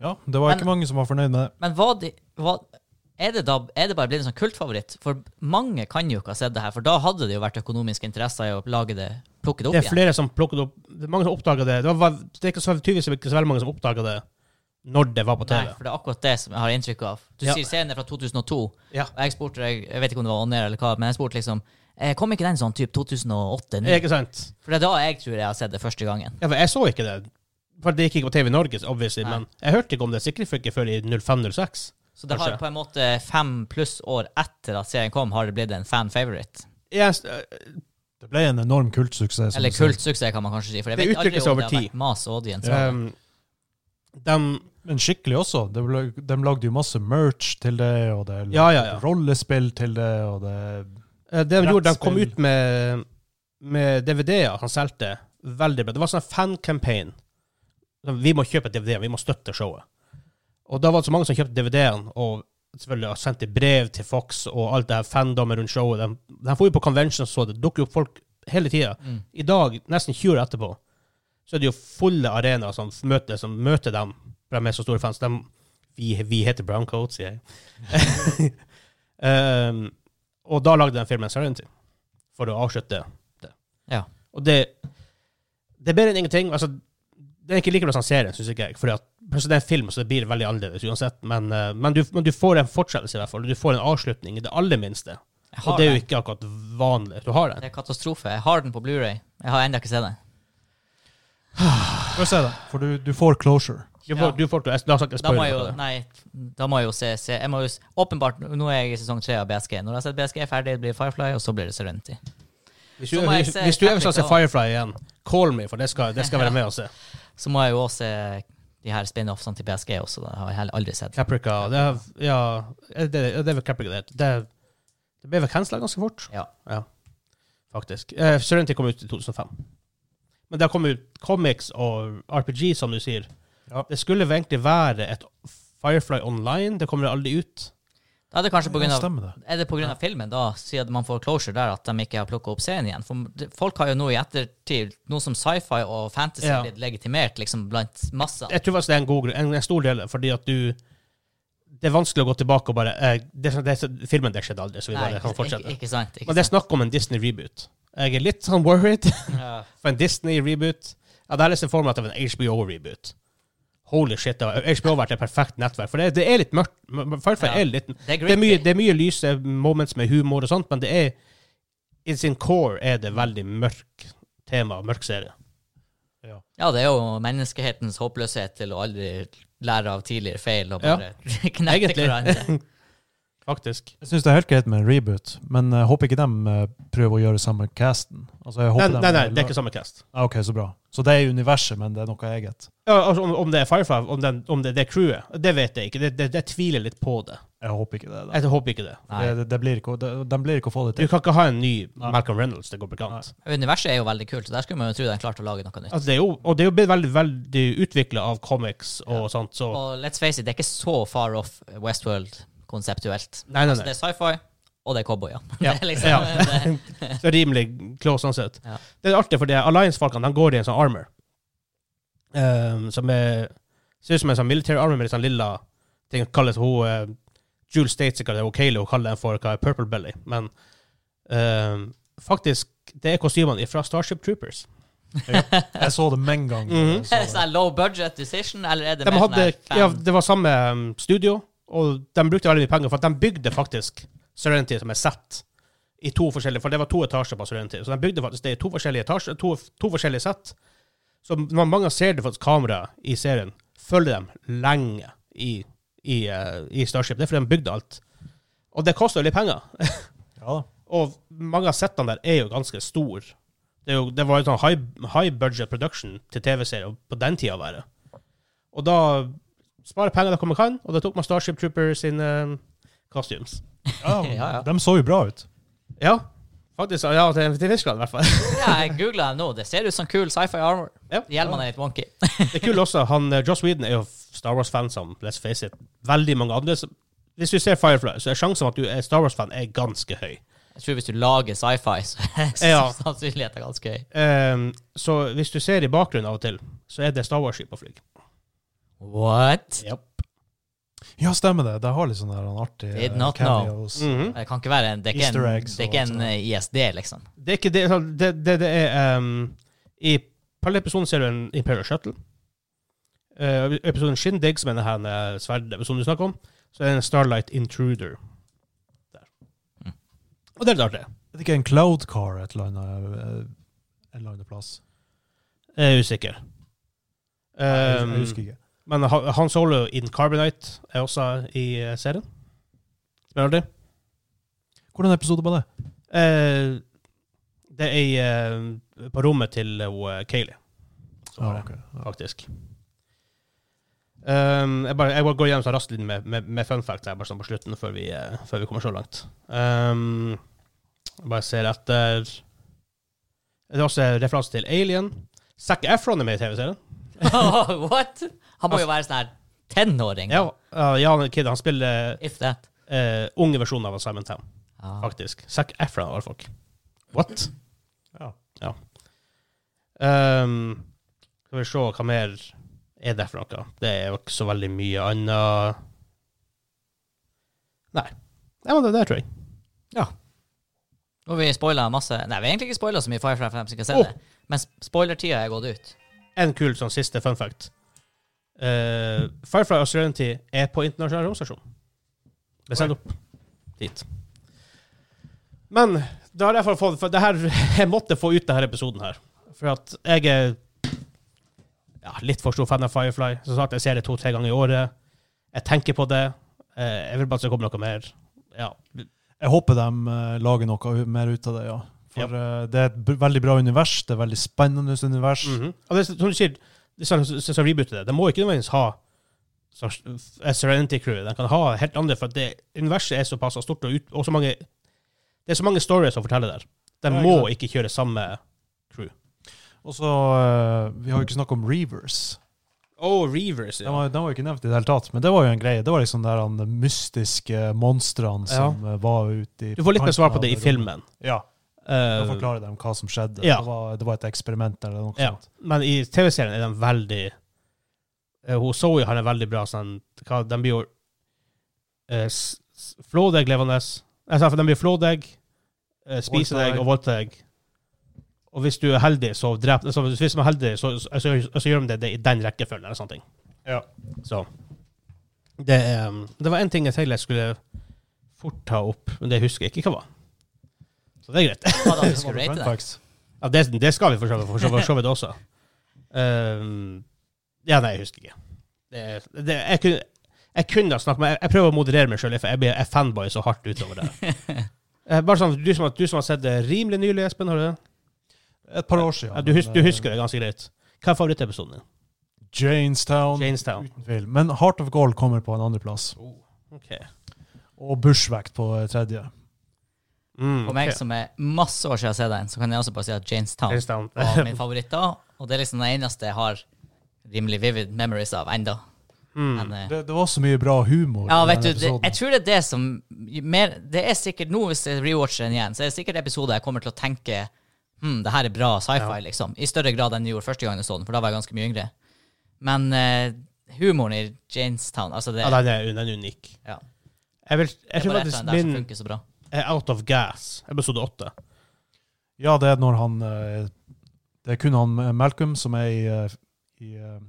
S3: Ja, det var
S2: Men-
S3: ikke mange som var fornøyd med det.
S2: Men hva de, hva, er, det da, er det bare blitt en sånn kultfavoritt? For mange kan jo ikke ha sett det her, for da hadde det jo vært økonomiske interesser i å lage det, plukke det opp
S1: Det er
S2: igjen.
S1: flere som plukket opp Det er mange som oppdaga det. Det, var, det er ikke så, tydeligvis ikke så veldig mange som oppdaga det når det var på
S2: Nei,
S1: TV.
S2: for det er akkurat det som jeg har inntrykk av. Du
S1: Ja.
S2: sier serien er fra 2002,
S1: Ja.
S2: og jeg spurte jeg, jeg vet ikke om det var on air eller hva, men jeg spurte liksom eh, Kom ikke den sånn type 2008?
S1: Er Ikke sant?
S2: For det er da jeg tror jeg har sett det første gangen.
S1: Ja, for jeg så ikke det. For det gikk ikke på TV i Norge, obviously,
S2: Nei.
S1: men jeg hørte ikke om det sikkert ikke før i 05-06.
S2: Så det har
S1: Kanskje.
S2: på en måte fem pluss år etter at serien kom, har det blitt en fan favorite.
S1: Jeg, det
S3: Det ble en enorm kultsuksess. som
S2: Eller
S3: du sier.
S2: kultsuksess, kan man kanskje si. For jeg
S1: Det
S2: vet aldri
S1: utvikles
S2: om
S1: over
S2: det har
S1: tid.
S2: vært mas audience.
S1: um, de
S3: Men skikkelig også. De, ble, de lagde jo masse merch til det, og det
S1: Ja, ja, ja.
S3: rollespill til det, og det
S1: Eh, Det de gjorde, de kom
S3: Brettspill.
S1: ut med, med DVD-er han solgte. Veldig bra. Det var sånn fan-campaign. Sånn, Vi må kjøpe DVD-er, vi må støtte showet. Og da var det så mange som kjøpte DVD-en, og selvfølgelig har sendt i brev til Fox og alt det her fandommet rundt showet. De, de får jo på convention så det dukker jo opp folk hele tida.
S2: Mm.
S1: I dag, nesten 20 år etterpå, så er det jo fulle arenaer som møter, som møter dem, for de er så store fans. De, vi, vi heter Brown Coat, sier jeg. um, og da lagde de filmen Serenity, for å avslutte det.
S2: Ja.
S1: Og det, det er bedre enn ingenting. Altså, det er ikke like bra som serien, syns ikke jeg. Fordi at, plutselig det er en film, så det blir veldig annerledes uansett. Men, eh, men, du, men du får en fortsettelse, i hvert fall. Du får en avslutning, i det aller minste.
S2: Jeg
S1: Og
S2: har
S1: det er jo
S2: den.
S1: ikke akkurat vanlig. Du har den.
S2: Det er katastrofe. Jeg har den på Blu-ray. Jeg har ennå ikke sett den.
S3: Få se det, for du, du får closure.
S1: Du
S2: Ja.
S1: får, du får, jeg, la oss ikke
S2: Da må
S1: spoile
S2: jeg jo
S1: noe.
S2: Nei, da må jeg jo se, se jeg må jo, s- Åpenbart, nå er jeg i sesong tre av BSG. Når jeg har sett BSG ferdig, blir det Firefly, og så blir det Serenity.
S1: Hvis
S2: Så
S1: du,
S2: må jeg
S1: hvis,
S2: se
S1: hvis du eventuelt
S2: Paprika
S1: ser Firefly igjen, call me, for det skal, det skal være med å se.
S2: Så må jeg jo også se de her spin-offsene til BSG også. Det har jeg heller aldri sett.
S1: Caprica det er, Ja, er det, er det er vel Caprica det heter. Det, er- det ble vel cancela ganske fort,
S2: Ja.
S1: faktisk. Eh, Serenity kom ut i 2005. Men det har kommet ut comics og RPG, som du sier.
S3: Ja.
S1: Det skulle vel egentlig være et Firefly Online. Det kommer aldri ut.
S2: Da er det kanskje på grunn av
S3: Stemmer det.
S2: Er det pga. filmen, da, siden man får closure der, at de ikke har plukka opp serien igjen? For de- folk har jo nå i ettertid, nå som sci-fi og fantasy
S1: Ja.
S2: er blitt legitimert liksom blant massa
S1: Jeg tror faktisk det er en, god, grunn- en, en stor del, fordi at du Det er vanskelig å gå tilbake og bare eh, det, det, Filmen der skjedde aldri, så vi
S2: Nei,
S1: bare kan
S2: ikke,
S1: fortsette.
S2: ikke, ikke sant. Ikke
S1: Men det er
S2: sant.
S1: snakk om en Disney-reboot. Jeg er litt sånn worried
S2: Ja.
S1: for en Disney-reboot. Jeg hadde helst sett for meg at det var en HBO-reboot. Holy shit. det var- HBO har vært et perfekt nettverk. For det, det er litt mørkt. M- m- Firefly
S2: Ja.
S1: er litt
S2: Det er
S1: det er, mye,
S2: gritty.
S1: det er mye lyse moments med humor og sånt, men det er In sin core er det veldig mørk tema, og mørk serie.
S2: Ja, det er jo menneskehetens håpløshet til å aldri lære av tidligere feil og
S1: Ja.
S2: bare knekke
S1: Egentlig.
S2: hverandre.
S1: Faktisk.
S3: Jeg syns det er helt greit med en reboot, men jeg håper ikke de eh, prøver å gjøre samme casten. Altså, jeg
S1: Nei,
S3: håper
S1: nei,
S3: dem-
S1: nei, det er ikke samme cast.
S3: Ah, ok, så bra. Så det er universet, men det er noe eget.
S1: Ja, altså, om, om det er Firefly, om, den, om det er det crewet, det vet jeg ikke. Det, det, det tviler litt på det.
S3: Jeg håper ikke det. Da.
S1: Jeg håper ikke det.
S2: Nei.
S3: Det, det, det blir ikke, det, de blir ikke å få det
S1: Du
S3: til.
S1: kan ikke ha en ny Malcolm Reynolds. Det går på kant.
S2: Universet er jo veldig kult, så der skulle man jo tro de klarte å lage noe nytt.
S1: Altså, det er jo, og det er jo blitt veldig, veldig utvikla av comics og sånt, så
S2: Og let's face it, det er ikke så far off Westworld konseptuelt.
S1: Nei, nei,
S2: Så det
S1: nei.
S2: er sci-fi, og det er cowboyer.
S1: Ja.
S2: Det er liksom,
S1: ja.
S2: det-
S1: Så rimelig close sånn sett.
S2: Ja.
S1: Det er artig, fordi Alliance-folkene de går i en sånn armor. Ehm, som er Ser ut som en sånn military armor med litt sånn lilla ting som kalles hun eh, Jules States, ikke det er O'Kaley, hun kaller den for hva, Purple Belly. Men ehm, faktisk, det er kostymene fra Starship Troopers.
S3: Jeg så det med en gang.
S1: Mhm.
S3: jeg så det.
S2: Sånn low budget decision, eller er
S1: De
S2: det mer sånn
S1: hadde,
S2: her fan-
S1: ja, det var samme um, studio, og de brukte veldig mye penger, for at de bygde faktisk Serenity som er sett i to forskjellige, for det var to etasjer på Serenity, så de bygde faktisk det i to forskjellige etasjer, to, to forskjellige sett. Så når mange ser det faktisk kameraet i serien, følger dem lenge i, i, eh, i Starship. Det er fordi de bygde alt. Og det koster jo litt penger.
S3: Ja da.
S1: Og mange av settene der er jo ganske store. Det, er jo, det var jo sånn high, high budget production til TV-serier på den tida. Var det. Og da spare penger der man kan, og da tok man Starship Trooper sine um, costumes.
S3: Ja,
S2: Ja, ja.
S3: De så jo bra ut.
S1: Ja, faktisk. Ja, til, til Tyskland i hvert fall.
S2: Ja, jeg googla det nå. Det ser ut som kul sci-fi armor.
S1: Ja.
S2: Hjelmene er litt wonky.
S1: Det er kult også. Han, eh, Joss Whedon er jo Star Wars-fan som let's face it, veldig mange andre. som- Hvis du ser Firefly, så er sjansen for at du er Star Wars-fan er ganske høy.
S2: Jeg tror hvis du lager sci-fi, så er
S1: Ja.
S2: sannsynligheten ganske høy.
S1: Ehm, så hvis du ser i bakgrunnen av og til, så er det Star Wars-skip og flyg.
S2: What?
S1: Yep.
S3: Ja, stemmer det. De har litt sånne her, han artige
S2: Did
S3: eh,
S2: not know.
S3: cameos.
S1: Mm. Mhm.
S2: Det kan ikke være en, det er ikke
S3: Easter
S2: en,
S3: eggs
S2: det er ikke
S3: og
S2: en
S3: sånn.
S2: eh, ISD, liksom.
S1: Det er ikke det sånn, Det, det, det er ehm, I parallell episoden ser du en Imperial Shuttle. Uh, episoden Shindig, som er denne her, eh, sverdepisoden du snakker om, så er det en Starlight Intruder. Der.
S2: Mm.
S1: Og det er litt artig.
S3: Er det ikke en cloud car et eller annet, eh, en eller annen plass?
S1: Jeg er usikker.
S3: jeg,
S1: Ehm,
S3: jeg husker ikke.
S1: men Han Han Solo in Carbonite er også i eh, serien. Som er artig.
S3: Hvordan episode var det?
S1: Eh, det er i, eh, på rommet til uh, Kayleigh. som har det.
S3: Ah, ok. Ja.
S1: faktisk. Ehm, jeg, bare, jeg bare går gjennom så raskt litt med, med, med fun facts her, bare sånn på slutten, før vi, eh, før vi kommer så langt. Ehm, jeg bare ser etter Det er også en referanse til Alien. Zac Efron er med i TV-serien.
S2: What? Han må jo være sånn her tenåring.
S1: Ja, uh, ja, han er kid, han spiller
S2: If that.
S1: eh, unge versjonen av Simon Town,
S2: Ah.
S1: faktisk. Zac Efron av alle folk. What?
S3: Ja.
S1: Ehm, skal vi se hva mer er det for noe. Det er jo ikke så veldig mye annet. Nei. Nei, men det der tror jeg.
S2: Og vi spoila masse Nei, vi har egentlig ikke spoila så mye Firefly for dem som ikke har
S1: Oh.
S2: sett det. Men sp- spoilertida er gått ut.
S1: En kul sånn siste fun fact. Eh, Firefly og Serenity er på internasjonal romstasjon. Det er sendt opp dit. Men da har jeg i hvert fall fått For det her, jeg måtte få ut denne episoden her. For at jeg er ja, litt for stor fan av Firefly. Som sagt, jeg ser det to-tre ganger i året. Jeg tenker på det. Eh, jeg vil bare at det kommer noe mer. Ja.
S3: Jeg håper de eh, lager noe u- mer ut av det, ja. For eh, det er et b veldig bra univers, det er veldig spennende univers.
S1: Mhm. Og det er som du sier, det er sånn som så, rebooter det. De må ikke nødvendigvis ha så- eh, Serenity Crew. De kan ha helt andre, for det universet er såpass stort, og, ut, og så mange det er så mange stories å fortelle der. De
S3: Ja, ikke
S1: må
S3: sant.
S1: ikke kjøre samme crew.
S3: Og så, eh, vi har jo ikke snakket om Reavers.
S1: Oh, Reavers,
S3: De var, de var jo ikke nevnt i det hele tatt, men det var jo en greie. Det var liksom der han, de mystiske monstrene som eh, var ute i
S1: Du får litt mer svar på det i
S3: kanten av
S1: filmen.
S3: rommet. Ja, da
S1: Eh,
S3: forklarer de hva som skjedde.
S1: ja.
S3: Det, var, det var et eksperiment eller noe
S1: ja.
S3: sånt.
S1: Men i TV-serien er de veldig eh, Hun Zoe har en veldig bra sånn hva, De blir jo eh, s- s- flå deg levende. Altså, de blir flå deg, eh, spise
S3: Voldta
S1: deg og voldta deg. Og hvis du er heldig, så drep altså, Hvis de er heldig, så, så, så, så gjør de det, det i den rekkefølgen. Eller sånne ting.
S3: Ja.
S1: Så det, er, um, det var én ting jeg tenkte jeg skulle fort ta opp, men det husker jeg ikke hva var. Så det er greit.
S2: Hva da,
S3: Det
S2: vi
S3: var
S2: skulle
S3: fun
S2: rate det?
S3: facts.
S1: Ja, det, det skal vi for så vidt- for så- for så vidt også. Ehm, ja, nei, jeg husker ikke. Det, det, jeg, kunne, jeg kunne ha snakket med jeg, jeg prøver å moderere meg sjøl, for jeg blir jeg er fanboy så hardt utover det. Eh, Bare sånn, du som, har- du som har sett det rimelig nylig, Espen, har du det?
S3: Et par år siden.
S1: Ja, du, hus,
S3: men,
S1: du
S3: eh,
S1: husker det ganske greit. Hva er favorittepisoden din?
S3: Janestown,
S1: Janestown. Oh.
S3: uten tvil. Men Heart of Gold kommer på en andreplass.
S1: Ok.
S3: Og Bushwack på eh, tredje.
S1: Mm,
S2: For meg
S1: ok.
S2: som er masse år siden jeg har sett den, så kan jeg også bare si at Janestown
S1: Jamestown.
S2: var min favoritt da. Og det er liksom den eneste jeg har rimelig vivid memories av enda. Men, eh,
S3: Det, det var så mye bra humor.
S2: ja,
S3: i
S2: vet du,
S3: den
S2: det,
S3: episoden.
S2: jeg tror det er det som mer, Det er sikkert nå, hvis jeg rewatcher den igjen, så er det sikkert episoder jeg kommer til å tenke Hm, det her er bra sci-fi, liksom. I større grad enn jeg gjorde første gang jeg så den, for da var jeg ganske mye yngre. Men eh, humoren i Janestown, altså det
S1: Ja, den er, den er unik.
S2: ja.
S1: Jeg, vil, jeg
S2: Det er
S1: tror
S2: bare et eller
S1: faktisk
S2: annet der som
S1: min
S2: funker så bra.
S1: er Out of Gas, episode åtte.
S3: Ja, det er når han eh, Det er kun han eh, Malcolm som er i, eh, i, eh,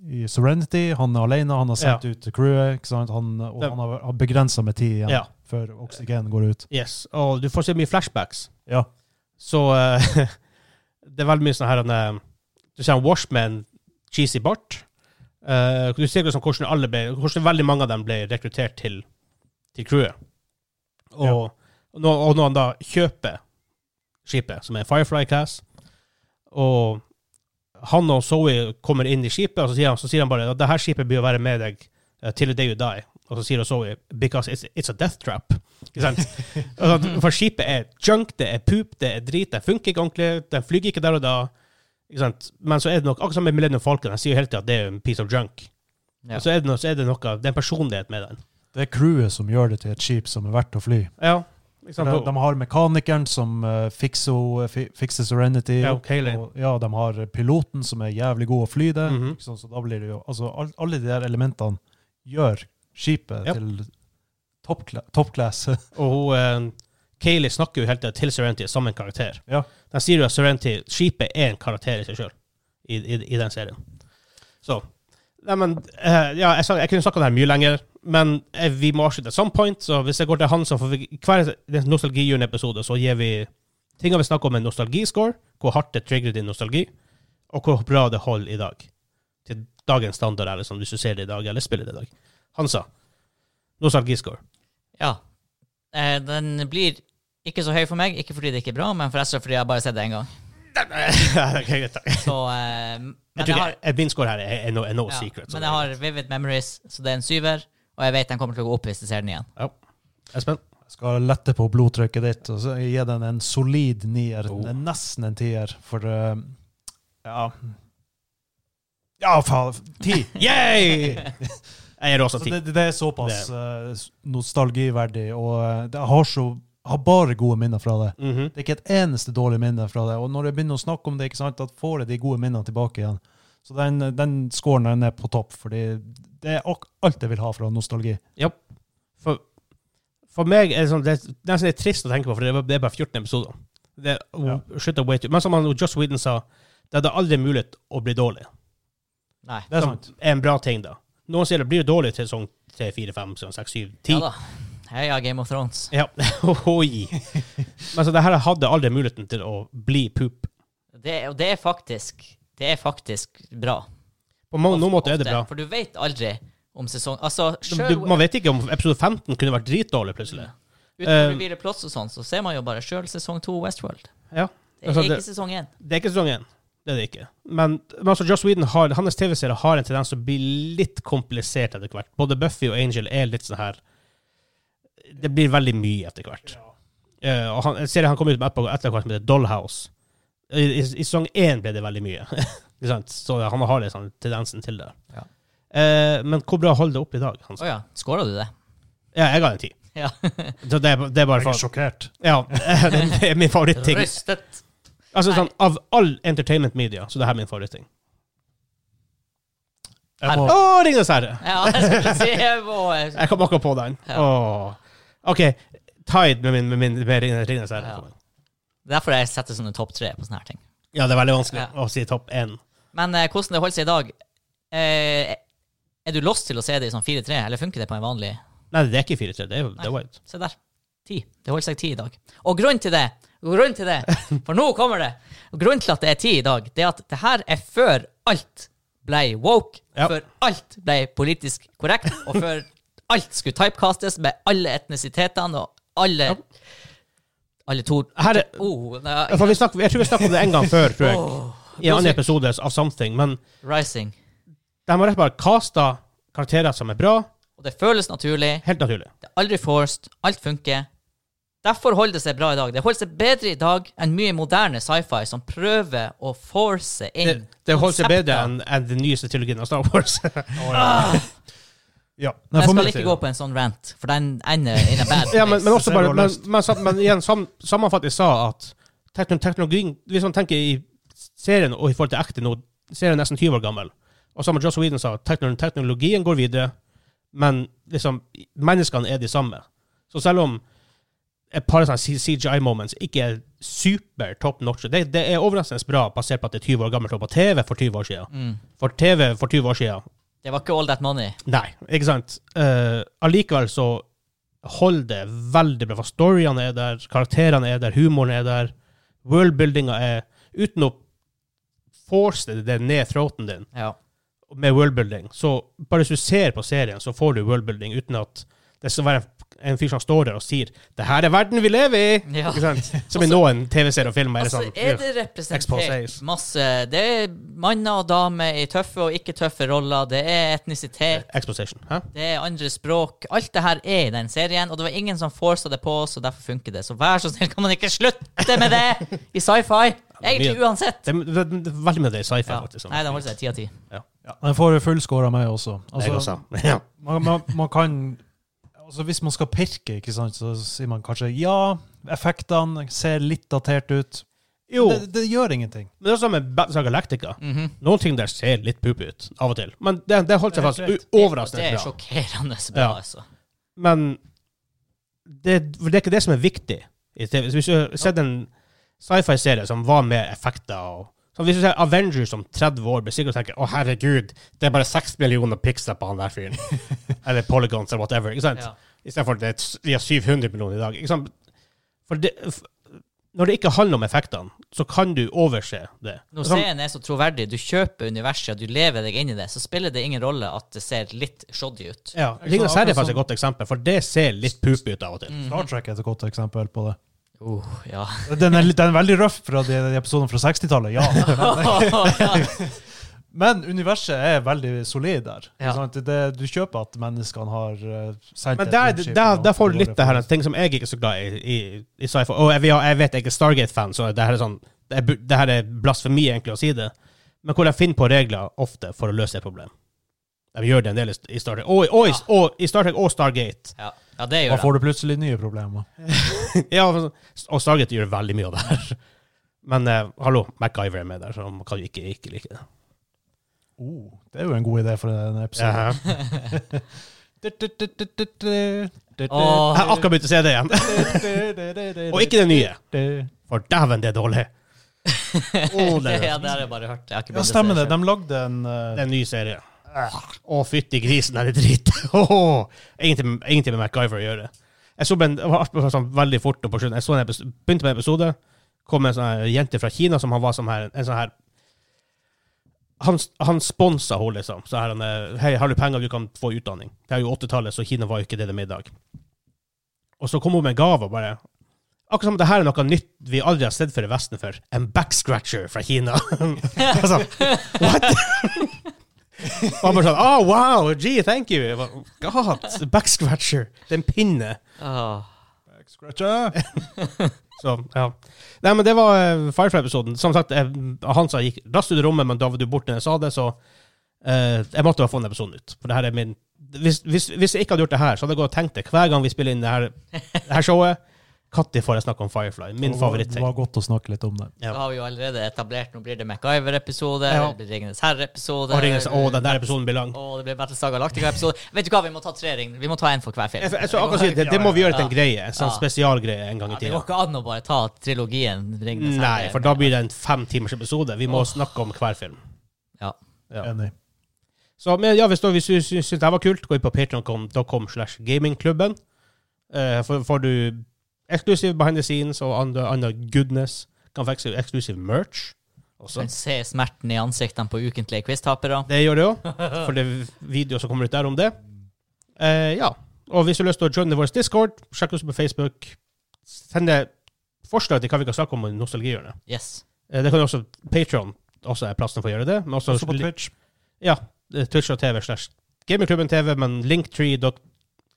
S3: i Serenity. Han er alene, han har sendt ut crewet, ikke sant? Han, eh, og
S1: Det-
S3: han har- har begrensa med tid igjen
S1: Ja.
S3: før oksygen går ut.
S1: Yes. Og du får se mye flashbacks.
S3: Ja.
S1: Så eh, det er veldig mye sånn her eh, Du ser en Washman, cheesy bart. Eh, du ser liksom hvordan, alle ble, hvordan veldig mange av dem ble rekruttert til, til crewet. Og,
S3: Ja.
S1: og, når, og når han da kjøper skipet, som er Firefly Class, og han og Zoe kommer inn i skipet, og så sier han, så sier han bare at det her skipet blir å være med deg eh, till the day you die. Og så sier Zoe because it's, it's a death trap. Ikke sant? Altså, For skipet er junk, det er poop, det er drit, det funker ikke ordentlig, den flyger ikke der og da. Ikke sant? Men så er det nok, akkurat som med Millennium Falcon, jeg sier jo hele tiden at det er en piece of junk.
S2: Ja.
S1: Og så er det, noe, så er det noe, det er en personlighet med den.
S3: Det er crewet som gjør det til et skip som er verdt å fly.
S1: Ja, ikke
S3: De,
S1: sant?
S3: de har mekanikeren som eh, fikser, ho- fi, fikser Serenity.
S1: Ja, og Kayleigh.
S3: og, ja, de har piloten som er jævlig god å fly det.
S1: Mhm.
S3: ikke sant? så da blir det jo, altså, all, Alle de der elementene gjør skipet
S1: Ja.
S3: til top, cla- top class.
S1: Og hun, eh, Kayleigh snakker jo hele tiden til Serenity som en karakter.
S3: Ja.
S1: De sier jo at Serenity, skipet er en karakter i seg selv, i, i, i den serien. Så, nei, men, eh, ja, jeg, sa- jeg kunne snakket om det her mye lenger, men eh, vi må avslutte at some point, så hvis jeg går til han, så får vi hver nostalgijun-episode, så gir vi ting vi snakker om en nostalgiscore, hvor hardt det trigger din nostalgi, og hvor bra det holder i dag. Til dagens standard, eller sånn, hvis du ser det i dag, eller spiller det i dag. Hansa, nostalgiscore.
S2: Ja. Eh, den blir ikke så høy for meg, ikke fordi det ikke er bra, men forresten fordi jeg bare har sett det én gang.
S1: Ok, greit, takk.
S2: Så, eh, men
S1: Jeg
S2: jeg
S1: tror
S2: har,
S1: ikke eh, min score her er, er no, er no
S2: ja,
S1: secret. så
S2: men
S1: det
S2: jeg
S1: er
S2: har vivid memories, så det er en syver. Og jeg vet den kommer til å gå opp hvis jeg ser den igjen.
S1: greit. Espen?
S3: Jeg skal lette på blodtrykket ditt og så gi den en solid nier.
S1: Oh.
S3: Det er Nesten en tier, for eh, Ja. Ja, faen! Ti!
S1: Yay! Jeg gir også
S3: Så
S1: ti.
S3: det, det er såpass eh, s- nostalgiverdig, og eh, det har, så, har bare gode minner fra det.
S1: Mhm.
S3: Det er ikke et eneste dårlig minne fra det. Og når jeg begynner å snakke om det, ikke sant, da får jeg de gode minnene tilbake igjen. Så den, den scoren den er på topp, fordi det er ak- alt jeg vil ha fra nostalgi.
S1: Japp. For, for meg er det, sånn, det er nesten litt trist å tenke på, for det er, det er bare 14 episoder. Det er
S3: Ja.
S1: shit away to. Men som han, Joss Whedon sa, det hadde aldri mulighet å bli dårlig.
S2: Nei.
S3: Det er
S1: Som
S3: sant.
S1: er en bra ting, da. Noen sier det blir dårlig til sånn 3, 4, 5, 6, 7, 10.
S2: Ja da. Heia Game of Thrones.
S1: Ja. Oi. Men så det her hadde aldri muligheten til å bli poop.
S2: Det, og det er faktisk Det er faktisk bra.
S1: På mange, noen måter er det
S2: Ofte,
S1: bra.
S2: For du vet aldri om sesong Altså,
S1: Du,
S2: sjøl
S1: man vet ikke om episode 15 kunne vært dritdårlig plutselig. eh,
S2: utenfor Ville Plots og sånn, så ser man jo bare sjøl sesong to Westworld.
S1: Ja.
S2: Det
S1: Altså,
S2: er
S1: det-
S2: ikke sesong én.
S1: Det er ikke sesong én. Det er det ikke. Men, men altså, Joss Whedon har, hans TV-serie har en tendens til å bli litt komplisert etter hvert. Både Buffy og Angel er litt sånn her Det blir veldig mye etter hvert. Eh, og han, serien han kom ut med etterpå, etter hvert, som heter Dollhouse. I, i, I sesong én ble det veldig mye. Ikke sant? Så han har litt sånn tendensen til det.
S2: Ja.
S1: Eh, men hvor bra holder det opp i dag? Hans?
S2: Å ja. Skåra du det?
S1: Ja, jeg ga den ti.
S2: Ja.
S1: Så det, er- det er bare
S3: Jeg er
S1: for
S3: sjokkert.
S1: Ja, det er min favoritting.
S2: Rystet.
S1: Altså, sånn, av all entertainment media, så det her er min favoritting.
S3: Jeg må,
S1: Å, Ringenes herre!
S2: Ja, jeg skulle si eh, jeg må-
S1: Jeg kom akkurat på den.
S2: Ja.
S1: Åh. OK, Tide med, min, med, min, med Ringenes Ringenes herre.
S2: Ja. Derfor jeg setter sånne topp tre på sånne her ting.
S1: Ja, det er veldig vanskelig
S2: Ja.
S1: å si topp én.
S2: Men eh, hvordan det holder seg i dag eh, Er du lost til å se det i sånn 4-3, eller funker det på en vanlig
S1: Nei, det er ikke 4-3. Det er, det er white.
S2: Se der. Ti. Det holder seg ti i dag. Og grunnen til det, grunnen til det, for nå kommer det Og Grunnen til at det er ti i dag, det er at det her er før alt ble woke,
S1: Ja.
S2: før alt ble politisk korrekt, og før alt skulle typecastes med alle etnisitetene og alle Alle to
S1: Her er-
S2: oh,
S1: Ja,
S2: nei,
S1: For vi snakk, jeg tror vi snakket om det en gang før, tror jeg.
S2: Åh.
S1: I en annen episode av Something. Men
S2: Rising.
S1: de har rett og slett bare casta karakterer som er bra,
S2: Og det føles naturlig.
S1: Helt naturlig.
S2: Det er aldri forced. Alt funker. Derfor holder det seg bra i dag. Det holder seg bedre i dag enn mye moderne sci-fi som prøver å force
S1: Det,
S2: inn
S1: det holder seg bedre
S2: konsepter.
S1: enn enn den nyeste trilogien av Star Wars.
S3: Ja.
S2: Jeg skal ikke gå på en sånn rant, for den ender in a bad
S1: ja, men, men, også
S3: Ser
S1: bare,
S3: du har
S1: men,
S3: lyst.
S1: men, sam- men igjen, sam, sammenfattet sa at tekno- teknologien Hvis man tenker i serien og i forhold til ekte nå, serien er nesten 20 år gammel. Og som Joss Whedon sa, tekno- teknologien går videre, men liksom, menneskene er de samme. Så selv om et par sånne CGI-moments ikke er super top notch Det, det er overraskende bra, basert på at det er 20 år gammelt og på TV for 20 år siden.
S2: Mm.
S1: For TV for 20 år siden
S2: Det var ikke all that money.
S1: Nei, ikke sant. Eh, allikevel så holder det veldig bra, for storyene er der, karakterene er der, humoren er der, worldbuildinga er Uten å force det ned throaten din
S2: Ja.
S1: med worldbuilding, så bare hvis du ser på serien, så får du worldbuilding uten at det skal være en fyr som står der og sier 'Det her er verden vi lever i!'
S2: Ja.
S1: Ikke sant? Som i noen TV-serier og filmer.
S2: Altså,
S1: er det
S2: er
S1: sånn,
S2: det representert
S1: Exposés.
S2: masse Det er manner og damer i tøffe og ikke tøffe roller. Det er etnisitet.
S1: eh, Exposition. Hæ?
S2: Det er andre språk. Alt det her er i den serien, og det var ingen som forsa det på oss, og derfor funker det. Så vær så snill, kan man ikke slutte med det i sci-fi? Egentlig
S1: mye-
S2: uansett.
S1: Det, er- det, er- det er veldig mye av det i sci-fi,
S2: Ja.
S1: faktisk. sånn.
S2: Nei, den holder seg ti av ti.
S3: Ja, Den får full score av meg også.
S1: Jeg
S3: Altså,
S1: også. Ja.
S3: man, man, man kan altså Hvis man skal pirke, ikke sant, så sier man kanskje ja, effektene ser litt datert ut.
S1: Jo.
S3: Det, det gjør ingenting.
S1: Men det er sånn med Battlestar Galactica. Noen ting der ser litt pup ut, av og til. Men det, det holdt seg fast
S3: Det er helt
S1: u- overraskende
S2: Det er
S1: bra.
S2: sjokkerende bra,
S1: Ja.
S2: altså.
S1: Men det, for det er ikke det som er viktig. i TV. Så Hvis du har sett en sci-fi-serie som var med effekter og så Hvis du ser Avengers om 30 år, blir sikkert tenker 'Å, herregud, det er bare 6 millioner pixler på han der fyren'. eller polygons, eller whatever. ikke sant?
S2: Ja.
S1: I stedet for at det er et- vi har 700 millioner i dag. Ikke sant? For det, f- når det ikke handler om effektene, så kan du overse det.
S2: Når
S1: Sånn-
S2: serien er så troverdig, du kjøper universet, og du lever deg inn i det, så spiller det ingen rolle at det ser litt shoddy ut.
S1: Ja,
S3: Ikke
S1: Ringenes herre
S3: sant,
S1: er
S3: akkurat sånn. Mm.
S1: faktisk
S3: som-
S1: et godt eksempel, for det ser litt pup ut av og
S2: Mhm.
S1: til.
S3: Star Trek er et godt eksempel på det.
S2: Uh, ja.
S3: Den er, litt- den er veldig røff fra de, de episodene fra 60-tallet, ja. Men universet er veldig solid der. ikke
S2: Ja.
S3: sant? Det, du kjøper at menneskene har eh, sendt
S1: Men
S3: et
S1: der,
S3: romskip
S1: der,
S3: og-
S1: der får du
S3: og
S1: litt det her, en ting som jeg ikke er så glad i i, i sci-fi. Og jeg, jeg vet jeg er Stargate-fan, så det her er sånn det, er bu- det her er blasfemi egentlig å si det. Men hvor de finner på regler ofte for å løse et problem. De gjør det en del i i Star Trek. Og, i- og, i- og i Star Trek og Stargate.
S2: ja. ja, det
S3: Da
S2: gjør jeg.
S3: får du plutselig nye problemer.
S1: Ja, og Stargate gjør veldig mye av det her. Men eh, hallo, MacGyver er med der, så man kan jo ikke, ikke like det.
S3: Oh, det er jo en god idé for en episode.
S1: Ja.
S2: Åh.
S1: Jeg har akkurat begynt å se det igjen. Og ikke det nye. For dæven, det er dårlig. Å, det
S2: Ja,
S1: er
S2: det har jeg bare hørt. Jeg har ikke
S3: Ja,
S2: begynt å se
S3: stemmer det.
S2: selv.
S3: De lagde en eh,
S1: en ny serie. Å, fytti grisen, er det dritt? Åh, Ingenting ingenting med MacGyver å gjøre. Jeg så en, det var alt bare sånn veldig fort opp på slutten. Jeg så en episode, begynte med en episode. kom en sånn her jente fra Kina som han var sånn her, en sånn her han, han sponsa henne, liksom. Så her han eh, Hei, har du penger, du kan få utdanning. Det er jo 80-tallet, så Kina var jo ikke det det er i dag. Og så kom hun med en gave og bare Akkurat som om det her er noe nytt vi aldri har sett før i Vesten før. En backscratcher fra Kina. altså, what? og han bare sånn Oh, wow! Gee, thank you! Jeg bare, God! Backscratcher. Det er en pinne.
S2: Åh.
S3: Scratcher.
S1: Så, ja. Nei, men det var eh, Firefly-episoden. Som sagt, eh, Hansa gikk raskt ut i rommet, men da var du borte når jeg sa det, så eh, jeg måtte bare få den episoden ut. For det her er min hvis, hvis, hvis jeg ikke hadde gjort det her, så hadde jeg gått og tenkt det hver gang vi spiller inn det her, det her showet. Når får jeg snakke om Firefly? Min
S3: Det
S1: favorittting.
S3: var godt å snakke litt om det.
S1: Ja.
S2: Da har vi jo allerede etablert Nå blir det MacGyver-episode,
S1: Ja.
S2: det blir Ringenes herre-episode
S1: Og ringer seg, Å, den der episoden blir lang.
S2: Å, det blir Battlestar Galactica-episode. Vet du hva, vi må ta tre ring. Vi må ta en for hver film.
S1: Jeg, jeg, så akkurat si, det, det må vi gjøre til en greie. En sånn
S2: Ja.
S1: spesialgreie en gang i
S2: det
S1: tida.
S2: går ikke an å bare ta trilogien Ringenes
S1: Mm. Nei,
S2: herre.
S1: for da blir det en fem timers episode. Vi må snakke om hver film.
S2: Ja.
S1: Ja.
S3: Enig.
S1: Så men ja, hvis, du- hvis du syns det her var kult, gå inn på patreon.com slash gamingklubben. Eh, får- får du eksklusiv behind the scenes og andre, andre goodness. Kan få eksklu- eksklusiv merch også.
S2: Kan se smerten i ansiktene på ukentlige quiz-tapere.
S1: Det gjør det òg, for det er videoer som kommer ut der om det. Eh, ja. Og hvis du har lyst til å joine vår Discord, sjekk oss ut på Facebook. Send deg forslag til hva vi kan snakke om i nostalgihjørnet.
S2: Yes.
S1: Eh, det kan du også Patreon også er plassen for å gjøre det. Men også,
S3: Så på Twitch.
S1: Ja, eh, Twitch og TV slash Gamingklubben TV, men linktree. dot-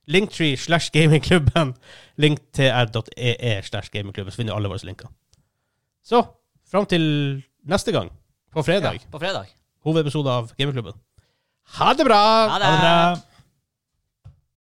S1: Linktree slash gamingklubben. Linktr.ee E slash gamingklubben. Så finner du alle våre linker. Så fram til neste gang, på fredag,
S2: Ja, på fredag.
S1: hovedepisode av Gamingklubben. Ha det bra!
S2: Ha det!
S3: Ha det bra.